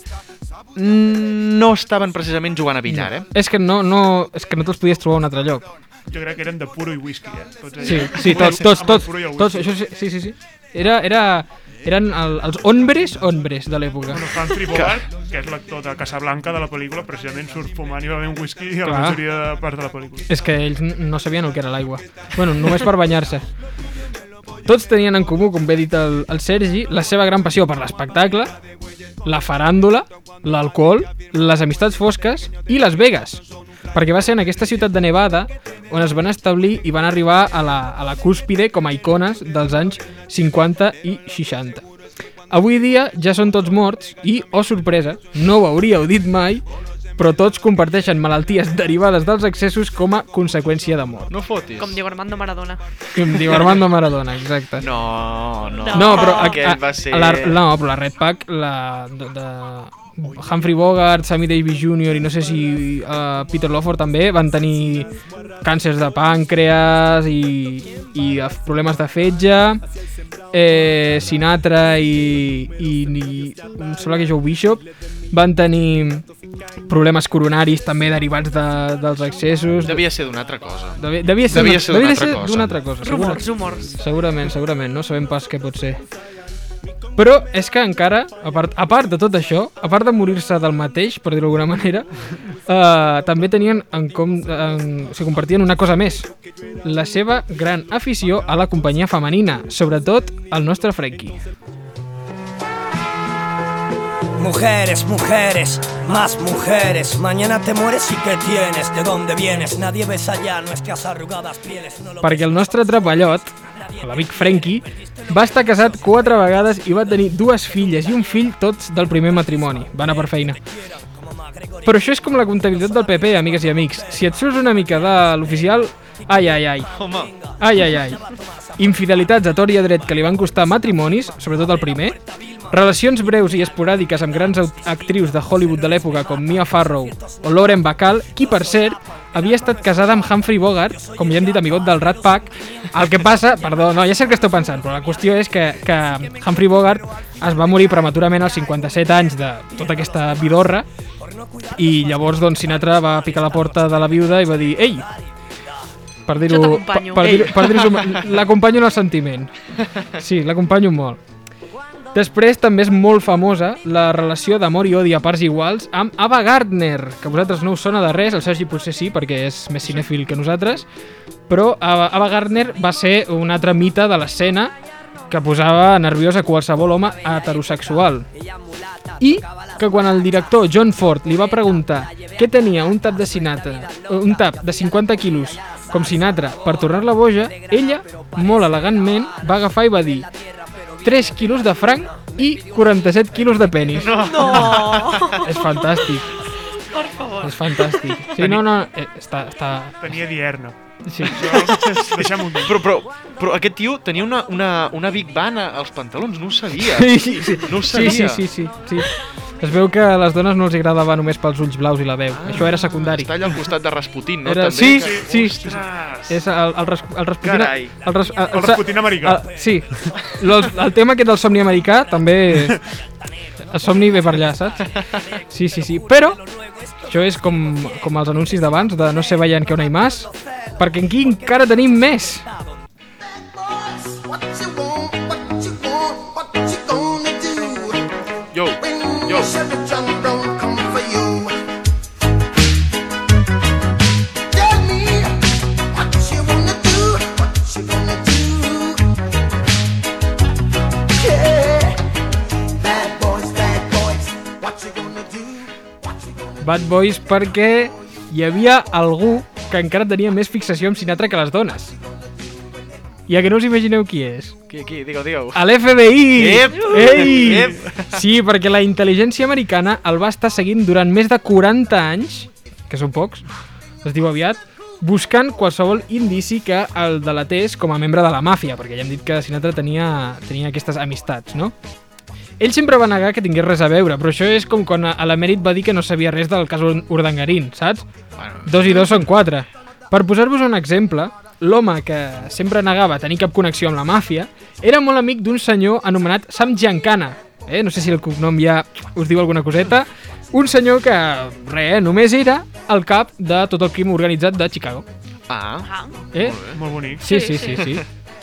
mm, no estaven precisament jugant a billar, eh? És que no, no, és que no te'ls podies trobar a un altre lloc. Jo crec que eren de puro i whisky, eh? Tots Sí, allà. sí, tots, tots, Amb el tots, puro i el tots, whisky. això sí, sí, sí, sí. Era, era, Eren el, els hombres hombres de l'època. Bueno, Humphrey Bogart, que és l'actor de Casablanca de la pel·lícula, precisament surt fumant i bevent whisky a la Clar. majoria de parts de la pel·lícula. És que ells n- no sabien el que era l'aigua. Bueno, només per banyar-se. Tots tenien en comú, com bé ha dit el, el Sergi, la seva gran passió per l'espectacle, la faràndula, l'alcohol, les amistats fosques i Las Vegas. Perquè va ser en aquesta ciutat de Nevada on es van establir i van arribar a la, a la cúspide com a icones dels anys 50 i 60. Avui dia ja són tots morts i, oh sorpresa, no ho hauríeu dit mai, però tots comparteixen malalties derivades dels excessos com a conseqüència de mort. No fotis. Com diu Armando Maradona. Com diu Armando Maradona, exacte. No, no. No, però a, Aquest a, va ser- a la, no, però la Red Pack, la de, de Humphrey Bogart, Sammy Davis Jr. i no sé si uh, Peter Lawford també van tenir càncers de pàncreas i, i eh, problemes de fetge. Eh, Sinatra i, i, i em sembla que Joe Bishop van tenir problemes coronaris també derivats de, dels excessos. Devia ser d'una altra cosa. Doncs Devia, devia ser Devia d'una ser d'una devia altra ser cosa. d'una altra cosa. Rumors, segura- rumors. Segurament, segurament, no sabem pas què pot ser. Però és que encara, a part, a part de tot això, a part de morir-se del mateix, per dir-ho d'alguna manera, eh, també tenien en com... En, o sigui, compartien una cosa més. La seva gran afició a la companyia femenina, sobretot al nostre Frenkie. Mujeres, mujeres, más mujeres. Mañana te mueres y ¿qué tienes? ¿De dónde vienes? Nadie besa ya nuestras arrugadas pieles. No lo perquè el nostre trapallot, l'amic Frenkie, va estar casat quatre vegades i va tenir dues filles i un fill tots del primer matrimoni. Va anar per feina. Però això és com la comptabilitat del PP, amigues i amics. Si et surts una mica de l'oficial, ai, ai, ai. Home. Ai, ai, ai. Infidelitats a tort i a dret que li van costar matrimonis, sobretot el primer, relacions breus i esporàdiques amb grans aut- actrius de Hollywood de l'època com Mia Farrow o Lauren Bacall, qui, per cert, havia estat casada amb Humphrey Bogart, com ja hem dit, amigot del Rat Pack, el que passa... Perdó, no, ja sé el que esteu pensant, però la qüestió és que, que Humphrey Bogart es va morir prematurament als 57 anys de tota aquesta vidorra i llavors, doncs, Sinatra va picar la porta de la viuda i va dir «Ei, per Jo dir-ho per, t'acompanyo. per dir, Ei. per dir l'acompanyo en el sentiment. Sí, l'acompanyo molt. Després també és molt famosa la relació d'amor i odi a parts iguals amb Ava Gardner, que a vosaltres no us sona de res, el Sergi potser sí, perquè és més cinèfil que nosaltres, però Ava, Ava Gardner va ser una altra mita de l'escena que posava nerviós a qualsevol home heterosexual. I que quan el director John Ford li va preguntar què tenia un tap de Sinatra, eh, un tap de 50 quilos com Sinatra per tornar-la boja, ella, molt elegantment, va agafar i va dir 3 quilos de franc i 47 quilos de penis. No. No. És fantàstic. Per Oh, favor. És fantàstic. Sí, no, no, eh, està, està... Tenia dierna. Sí. Deixa'm un Però, però, però aquest tio tenia una, una, una Big Bang a- als pantalons, no ho sabia. No ho sí, sabia. sí, sí, sí, sí. Es veu que a les dones no els agradava només pels ulls blaus i la veu. Ah, Això era secundari. Està allà al costat de Rasputin, no? Era, També, sí, que- sí, sí. Ostres! És el, el, ras, el Rasputin... Carai. El, ras, El Rasputin americà. El, sí. El, el tema aquest del somni americà també... El somni ve per allà, saps? Sí, sí, sí. Però això és com, com els anuncis d'abans, de no se vayan que no hay más, perquè aquí encara tenim més. What you want, what you want, what you gonna do? Yo, yo. Chevy John don't come for you. Tell me what you wanna do, what you gonna do. Yeah, bad boys, bad boys, what you gonna do? Bad Boys perquè hi havia algú que encara tenia més fixació amb Sinatra que les dones. I a que no us imagineu qui és? Qui, qui? Digue-ho, digue-ho. A l'FBI! Ep! Ei! Ep! Sí, perquè la intel·ligència americana el va estar seguint durant més de 40 anys, que són pocs, es diu aviat, buscant qualsevol indici que el delatés com a membre de la màfia, perquè ja hem dit que Sinatra tenia, tenia aquestes amistats, no? Ell sempre va negar que tingués res a veure, però això és com quan a a l'emèrit va dir que no sabia res del cas Ur- Urdangarín, saps? Dos i dos són quatre. Per posar-vos un exemple, l'home que sempre negava tenir cap connexió amb la màfia era molt amic d'un senyor anomenat Sam Giancana. Eh? No sé si el cognom ja us diu alguna coseta. Un senyor que, res, només era el cap de tot el crim organitzat de Chicago. Ah, eh? molt bonic. Sí, sí, sí, sí.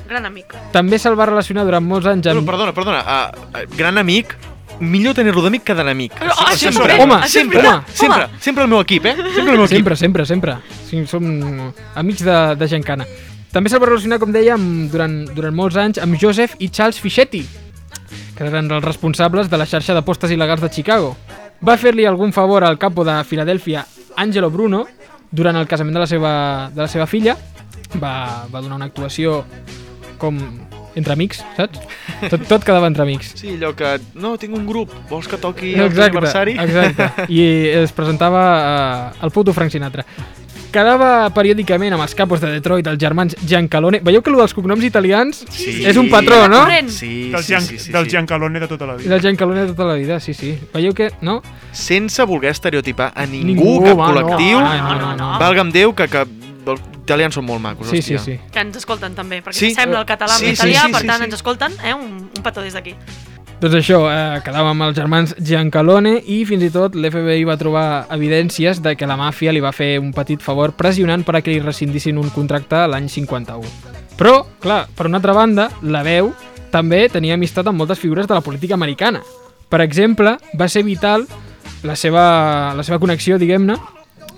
gran amic. També se'l va relacionar durant molts anys amb... Perdona, perdona, ah, ah, gran amic, millor tenir-lo d'amic que d'enemic. Ah, Sí, sempre, això és home, veritat. sempre, sempre, home. sempre, sempre el meu equip, eh? Sempre el meu equip. Sempre, sempre, sempre. Sí, som amics de, de Giancana. També se'l va relacionar, com deia, amb, durant, durant molts anys amb Joseph i Charles Fischetti, que eren els responsables de la xarxa d'apostes il·legals de Chicago. Va fer-li algun favor al capo de Filadèlfia, Angelo Bruno, durant el casament de la seva, de la seva filla. Va, va donar una actuació com entre amics, saps? Tot, tot quedava entre amics. Sí, allò que... No, tinc un grup, vols que toqui el teu aniversari? Exacte, i es presentava eh, el puto Frank Sinatra. Quedava periòdicament amb els capos de Detroit, els germans Giancalone. Veieu que el dels cognoms italians Sí. és un patró, no? Sí, del sí, Gian, sí, sí, del sí. Giancalone de tota la vida. El Giancalone de tota la vida, sí, sí. Veieu que, no? Sense voler estereotipar a ningú, Ningú, cap va, no. Ah, col·lectiu, No, no, no, no. valga'm Déu que, que els italians són molt macos, Sí, sí, hòstia. sí. Que ens escolten també, perquè Sí. sí. sembla el català Sí, amb sí, l'italià, sí, sí, per sí, tant sí. ens escolten, eh? Un, un petó des d'aquí. Doncs això, eh, quedava amb els germans Giancalone i fins i tot l'FBI va trobar evidències de que la màfia li va fer un petit favor pressionant per a que li rescindissin un contracte l'any 51. Però, clar, per una altra banda, la veu també tenia amistat amb moltes figures de la política americana. Per exemple, va ser vital la seva, la seva connexió, diguem-ne,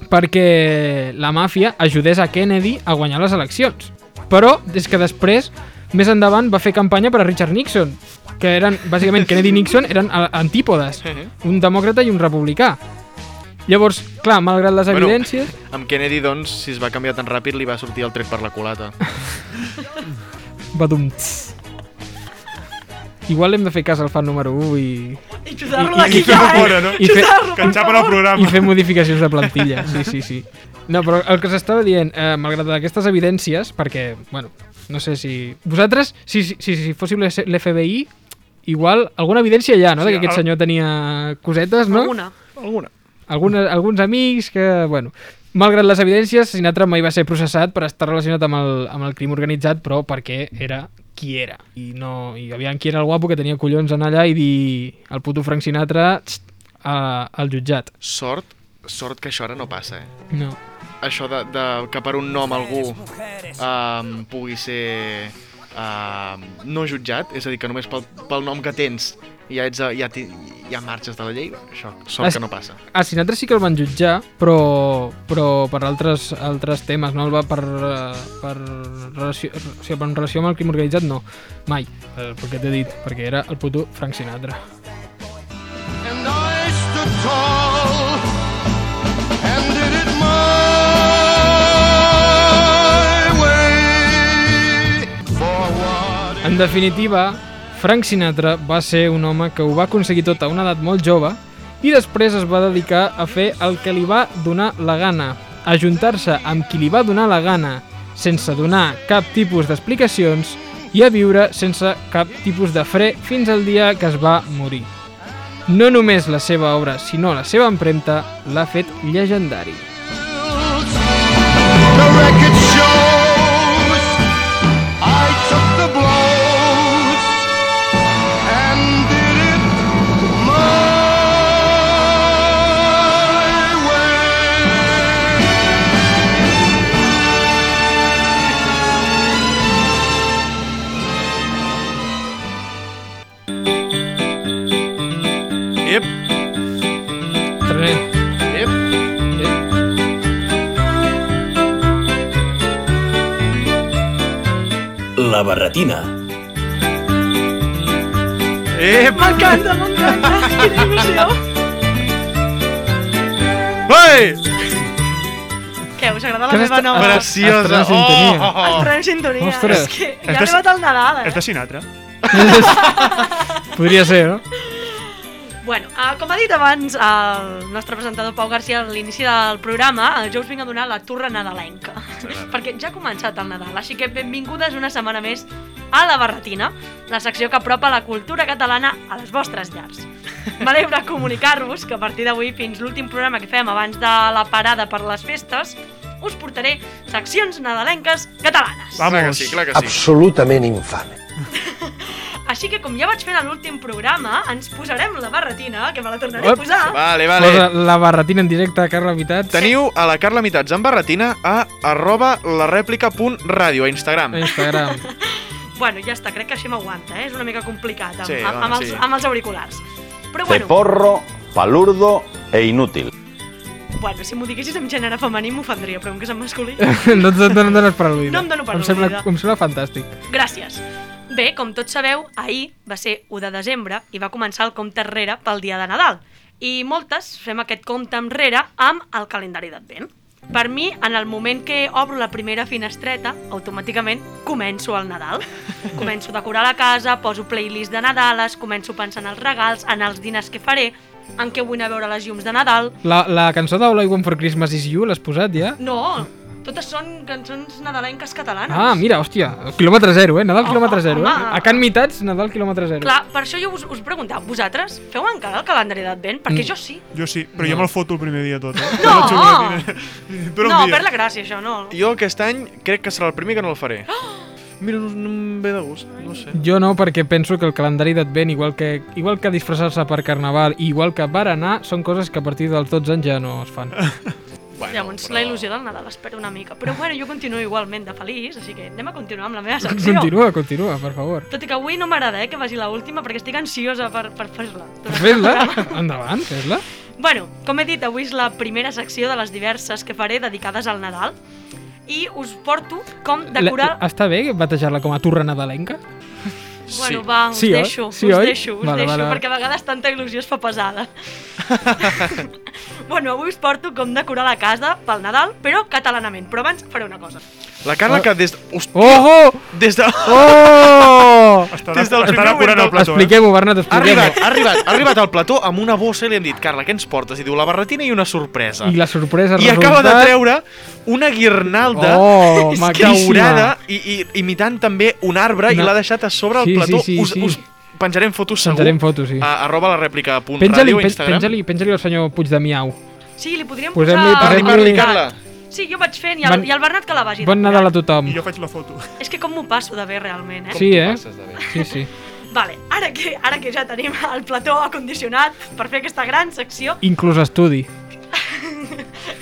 perquè la màfia ajudés a Kennedy a guanyar les eleccions. Però és que després, més endavant, va fer campanya per a Richard Nixon, que eren, bàsicament, Kennedy i Nixon eren a- antípodes, un demòcrata i un republicà. Llavors, clar, malgrat les Bueno, evidències... Amb Kennedy, doncs, si es va canviar tan ràpid, li va sortir el tret per la culata. Badum. tss. Igual hem de fer cas al fan número 1 i... I xutar-lo d'aquí ja, eh? I fer, Xutar-lo, Que enxapen el programa. I fer modificacions de plantilla, sí, sí, sí. No, però el que s'estava dient, eh, malgrat aquestes evidències, perquè, bueno, no sé si... Vosaltres, si, si, si, si fóssiu l'S- l'FBI, igual alguna evidència hi ha, no?, Sí, de que aquest al- senyor tenia cosetes, no? Alguna. Alguna. Algunes, alguns amics que, bueno... Malgrat les evidències, Sinatra mai va ser processat per estar relacionat amb el, amb el crim organitzat, però perquè era qui era. I, no, i aviam qui era el guapo que tenia collons anar allà i dir el puto Frank Sinatra txt, a, al jutjat. Sort, sort que això ara no passa, eh? No. Això de, de que per un nom algú um, pugui ser um, no jutjat, és a dir, que només pel, pel nom que tens ja, ets, a- ja, ti- ja marxes de la llei, això sort Es- que no passa. A Sinatra sí que el van jutjar, però, però per altres, altres temes, no? El va per, eh, per, relació, o sigui, per en relació amb el crim organitzat, no. Mai, eh, perquè t'he dit, perquè era el puto Frank Sinatra. And I stood tall and did it my way. For what En definitiva, Frank Sinatra va ser un home que ho va aconseguir tot a una edat molt jove i després es va dedicar a fer el que li va donar la gana, a juntar-se amb qui li va donar la gana, sense donar cap tipus d'explicacions i a viure sense cap tipus de fre fins al dia que es va morir. No només la seva obra, sinó la seva empremta l'ha fet llegendari. the record shows. I took the blows and did it my way. Ep! Trenet. Ep! La barretina. Ep! M'encanta, m'encanta, quina il·lusió. Ei! Què, us agrada Que la meva està- nova? Preciosa. Estrena Estrena sintonia. Oh, oh, oh. Estrena sintonia. Ostres. És que ja És ha de- arribat el Nadal, eh? És de Sinatra. Podria ser, no? Bueno, uh, com ha dit abans el nostre presentador Pau Garcia a l'inici del programa, eh, jo us vinc a donar la turra nadalenca. perquè ja ha començat el Nadal, així que benvingudes una setmana més a La Barretina, la secció que apropa la cultura catalana a les vostres llars. M'alegra comunicar-vos que a partir d'avui fins l'últim programa que fem abans de la parada per les festes us portaré seccions nadalenques catalanes. Clar que sí, clar que sí. Absolutament infame. Així que com ja vaig fer en l'últim programa, ens posarem la barretina, que me la tornaré a posar. Vale, vale. Posa la barretina en directe, Carla Mitats. Teniu a la Carla Mitats en barretina a arroba la a Instagram. Instagram. Bueno, ja està, crec que així m'aguanta, eh? És una mica complicat amb, Sí, amb, dona, amb, els, sí. amb els auriculars. Però bueno, Ceporro, palurdo e inútil. bueno si m'ho diguessis en gènere femení m'ofendria, però com que és en masculí... no, et- no em dones per al·ludida. No em dono per em sembla, al·ludida. em sembla fantàstic. Gràcies. Bé, com tots sabeu, ahir va ser 1 de desembre i va començar el compte enrere pel dia de Nadal. I moltes fem aquest compte enrere amb el calendari d'advent. Per mi, en el moment que obro la primera finestreta, automàticament començo el Nadal. Començo a decorar la casa, poso playlist de Nadales, començo a pensar en els regals, en els dinars que faré, en què vull anar a veure les llums de Nadal. La, la cançó de All I Want for Christmas Is You l'has posat ja? No, totes són cançons nadalenques catalanes. Ah, mira, hòstia, quilòmetre zero, eh? Nadal Oh, quilòmetre zero, eh? home. A Can Mitats, Nadal quilòmetre zero. Clar, per això jo us, us preguntava, vosaltres feu encara el calendari d'advent? Perquè Mm. jo sí. Jo sí, però jo me'l foto el primer dia tot, eh? No! Jo el primer dia. Però un no, dia. perd la gràcia, això, no. Jo aquest any crec que serà el primer que no el faré. Mira, no, no em ve de gust, no sé. Jo no, perquè penso que el calendari d'advent, igual que, igual que disfressar-se per carnaval i igual que berenar, són coses que a partir dels 12 anys ja no es fan. Bueno, Llavors, la il·lusió del Nadal es perd una mica. Però bueno, jo continuo igualment de feliç, així que anem a continuar amb la meva secció. Continua, continua, per favor. Tot i que avui no m'agrada eh, que vagi l'última, perquè estic ansiosa per, per fer-la. Fes-la, endavant, fes-la. Bueno, com he dit, avui és la primera secció de les diverses que faré dedicades al Nadal. I us porto com decorar... La- Està bé batejar-la com a turra nadalenca? Bueno, va, us Sí, oi? deixo, Sí, us oi? deixo, us Vale, deixo, vale. perquè a vegades tanta il·lusió es fa pesada. bueno, avui us porto com decorar la casa pel Nadal, però catalanament. Però abans faré una cosa. La Carla Oh. que des... Hòstia! Oh! Des de... Oh! Des del primer moment del plató, eh? Expliquem-ho, Bernat, Ha expliquem-ho. arribat, ha arribat, ha arribat al plató amb una bossa i li hem dit Carla, què ens portes? I diu, la barretina i una sorpresa. I la sorpresa I acaba de resultat- treure una guirnalda Oh, és que maquíssima. daurada i, i imitant també un arbre No. i l'ha deixat a sobre el Sí, sí, plató. sí, us, sí. us penjarem fotos segur. Penjarem fotos, sí. A, arroba la rèplica a punt Penja-li ràdio a pen- Instagram. penja-li penja al senyor Puig de Miau. Sí, li podríem Posem-li- posar... parli, parli, Carla. Sí, jo vaig fent, i el, Bon- i el Bernat que la vagi. Bon decorant. Nadal a tothom. faig la foto. És que com m'ho passo de bé, realment, eh? Sí, eh? Sí, sí. Vale, ara que, ara que ja tenim el plató acondicionat per fer aquesta gran secció... Inclús estudi.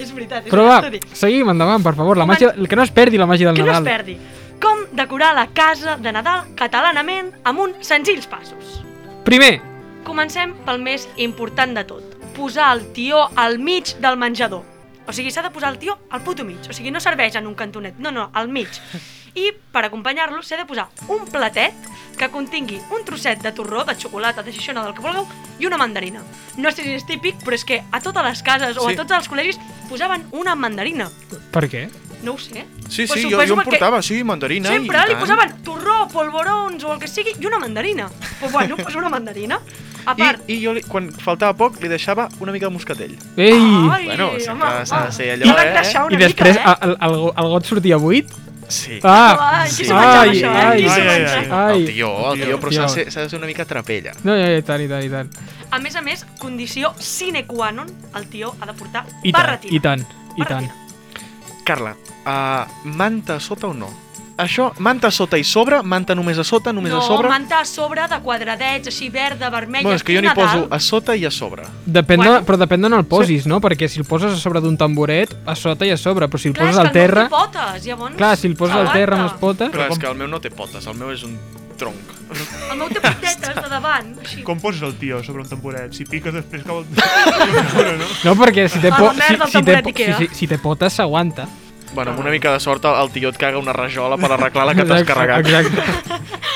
és veritat, és Però va, un estudi. seguim endavant, per favor. La màgia, que no es perdi la màgia del que Nadal. no es perdi. Com decorar la casa de Nadal catalanament amb uns senzills passos. Primer, Comencem pel més important de tot. Posar el tió al mig del menjador. O sigui, s'ha de posar el tió al puto mig. O sigui, no serveix en un cantonet. No, no, al mig. I per acompanyar-lo s'ha de posar un platet que contingui un trosset de torró, de xocolata, de xixona, del que vulgueu, i una mandarina. No sé si és típic, però és que a totes les cases o Sí. a tots els col·legis posaven una mandarina. per què? No ho sé. eh? Sí, Pues sí, jo, suposo jo em perquè- portava, sí, mandarina. i Sempre li tant. posaven torró, polvorons o el que sigui i una mandarina. Però bueno, pues una mandarina. A I, part, I jo, li, quan faltava poc, li deixava una mica de moscatell. Ei! Ai, bueno, sempre home, s'ha home. de ser I allò, van eh? deixar una I després el, el, el got sortia buit? Sí. Ah! Ai, qui s'ho menjava, ai, això, eh? ai, Qui s'ho ai, menjava? ai, El ai. tió, el tió, però s'ha de ser- s'ha de ser una mica trapella. No, ja, ja, i tant, i tant, i tant. a més a més, condició sine qua non, el tio ha de portar I tant, barretina. i tant, i tant. Carla, uh, manta a sota o no? Això, manta a sota i sobre, manta només a sota, només no, a sobre... manta a sobre de quadradets, així verda, vermella, Bueno, és que jo n'hi aquí Nadal. poso a sota i a sobre. Depèn de, però depèn d'on el posis, no? Perquè si el poses a sobre d'un tamboret, a sota i a sobre, però si el Clar, és poses que al terra... no té potes, llavors... Clar, si el poses al terra amb aguanta. les potes... Però és que el meu no té potes, el meu és un tronc. El meu té potetes de davant, així. Com poses el tio sobre un tamboret? Si piques després cau el... Bueno, Ah, no? No, perquè si té, A la po si, merda, el si, té, tamboret po si, Ikea. si, si té potes s'aguanta. Bueno, amb una mica de sort el el tio et caga una rajola per arreglar la que t'has Exacte, carregat. Exacte.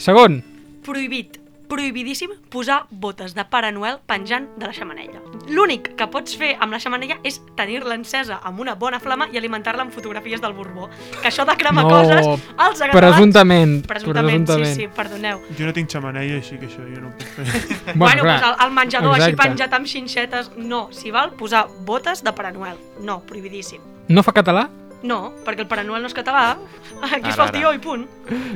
Segon, prohibit, prohibidíssim posar botes de Pare Noel penjant de la xamanella. L'únic que pots fer amb la xamanella és tenir-la encesa amb una bona flama i alimentar-la amb fotografies del Borbó. Que això de cremar No, coses els ha presumptament, Presumptament, presumptament. sí, sí, perdoneu. Jo no tinc xameneia, així que això jo no ho puc fer. Bueno, bueno pues el, el menjador exacte. així penjat amb xinxetes, no. Si val, posar botes de Pare Noel. No, prohibidíssim. no fa català? No, perquè el Pare Noel no és català. Aquí Ara, es fa el ara. tió i punt.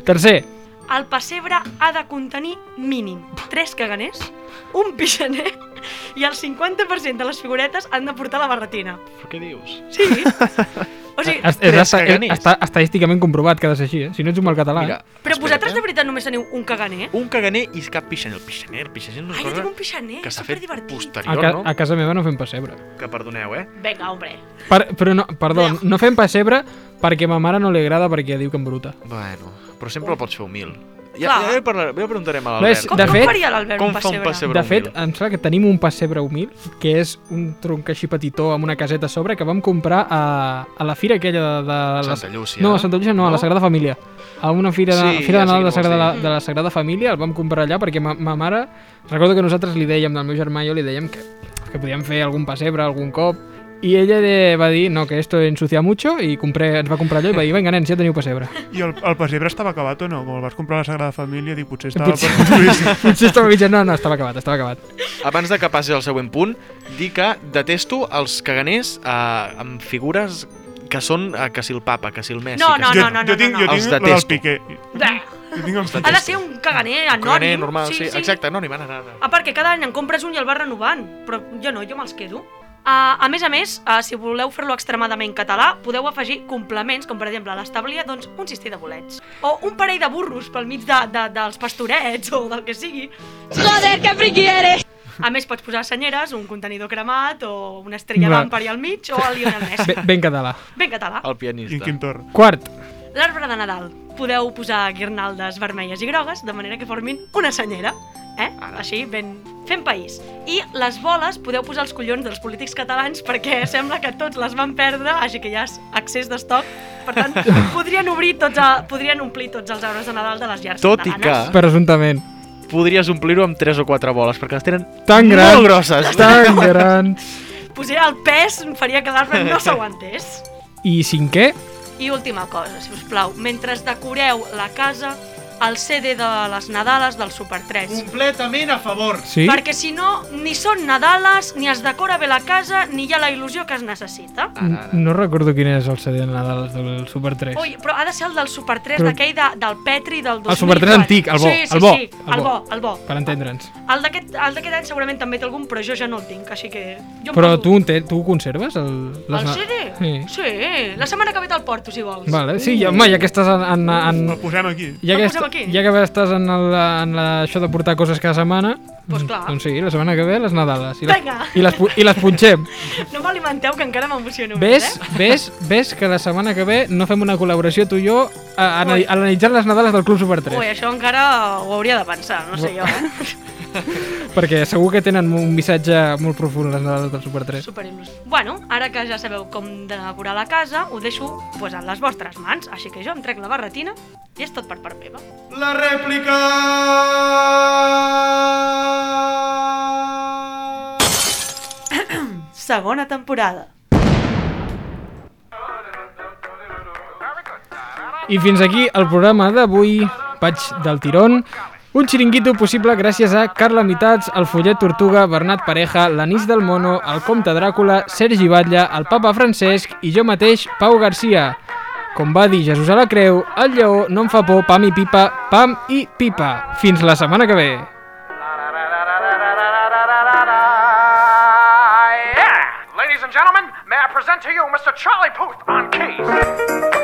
Tercer, El pessebre ha de contenir mínim 3 caganers, un pixaner i el 50% de les figuretes han de portar la barretina. Però què dius? Sí. O sigui, es, és, està, està, estadísticament comprovat que ha de ser així, eh? Si no ets un mal català, Mira. eh? però vosaltres de veritat només teniu un caganer? Un caganer i cap pixaner. El pixaner, el pixaner no és Ai, jo cosa tinc un pixaner, que s'ha fet A, posterior, ca no? a casa meva no fem pessebre. Que perdoneu, eh? Vinga, hombre. Per, però no, perdó, no fem pessebre, Perquè a ma mare no li agrada perquè diu que embruta. Bueno, però sempre el pots fer humil. Ja, Clar. ja, li parla- ja ho preguntarem a No, és- l'Albert. de fet- com fa un pessebre De fet, humil? em sembla que tenim un pessebre humil, que és un tronc així petitó amb una caseta a sobre que vam comprar a, a la fira aquella de... de la- Santa Llúcia. No, a Santa Llúcia no, a la Sagrada Família. A una fira de, Sí, fira ja sé de Nadal quin de, vols Sagrada, dir. de la Sagrada Família, el vam comprar allà perquè ma, ma mare... Recordo que nosaltres li dèiem, del meu germà i jo li dèiem que, que podíem fer algun pessebre algun cop i ella de, va dir, no, que esto ensucia mucho i compré, ens va comprar allò i va dir, venga, nens, ja teniu pessebre. I el, el pessebre estava acabat o no? Com el vas comprar a la Sagrada Família, dic, potser estava Potser- per construir-se. Potser estava mitjan... No, no, estava acabat, estava acabat. Abans de que passi al següent punt, dir que detesto els caganers eh, amb figures que són eh, que si el papa, que si el Messi... No, que no, si- no, no, Els no, no, no. Jo tinc la del detesto. Piqué. Bé, Ha de ser un caganer Un anònim. caganer normal, sí, exacte, anònim, ara, ara. Ah, perquè cada any en compres un i el vas renovant, però jo no, jo me'ls quedo. Uh, a més a més, uh, si voleu fer-lo extremadament català, podeu afegir complements, com per exemple a l'establia, doncs, un cistell de bolets. O un parell de burros pel mig de, de, dels pastorets o del que sigui. Joder, que friqui eres! A més, pots posar senyeres, un contenidor cremat, o una estrella Va. d'Ampari al mig, o el Lionel Messi. Ben, ben català. Ben català. El pianista. I Quim Torra. Quart, L'arbre de Nadal. Podeu posar guirnaldes vermelles i grogues de manera que formin una senyera. Eh? Així, ben fent país. I les boles podeu posar els collons dels polítics catalans perquè sembla que tots les van perdre, així que hi ha excés d'estoc. Per tant, podrien, obrir tots a, podrien omplir tots els arbres de Nadal de les llars Tot i que... catalanes. presumptament. Podries omplir-ho amb 3 o 4 boles, perquè les tenen Tan grans. molt grosses. Tan grans. Posar el pes faria que l'arbre no s'aguantés. I cinquè, I última cosa, si us plau, mentre decoreu la casa, el CD de les Nadales del Super 3. Completament a favor. Sí? Perquè si no, ni són Nadales, ni es decora bé la casa, ni hi ha la il·lusió que es necessita. no recordo quin és el CD de Nadal del Super 3. Ui, però ha de ser el del Super 3, Però- d'aquell de, del Petri del 2000. El Super 3 antic, el bo, sí, sí, el bo, Sí, el bo, el bo. Per entendre'ns. El d'aquest el d'aquest any segurament també té algun, però jo ja no el tinc, així que... Jo em Però poso- tu, en te, tu conserves el... les El na- CD? Sí. sí. La setmana que ve te'l porto, si vols. Vale, sí, ja, home, ja que estàs en... en, en... El posem aquí. Ja El que, posem aquí? ja que estàs en, el, en la, això de portar coses cada setmana, Pues clar. doncs sí, la setmana que ve les Nadales. I les, Vinga. i les, pu- i les punxem. No m'alimenteu, que encara m'emociono Ves, més, eh? ves, ves que la setmana que ve no fem una col·laboració tu i jo a, a, anali- analitzant les Nadales del Club Super 3. Ui, això encara ho hauria de pensar, no sé jo, eh? Perquè segur que tenen un missatge molt profund les Nadales del Super 3. Super Bueno, ara que ja sabeu com decorar la casa, ho deixo pues, en les vostres mans, així que jo em trec la barretina i és tot per part meva. La rèplica! Segona temporada. I fins aquí el programa d'avui, Patx del Tirón. Un xiringuito possible gràcies a Carla Mitats, el Follet Tortuga, Bernat Pareja, l'Anís del Mono, el Comte Dràcula, Sergi Batlle, el Papa Francesc i jo mateix, Pau Garcia. Com va dir Jesús a la creu, el lleó no em fa por, pam i pipa, pam i pipa. Fins la setmana que ve. Ah, Yeah! Ladies and gentlemen, may I present to you Mr. Charlie Puth on keys.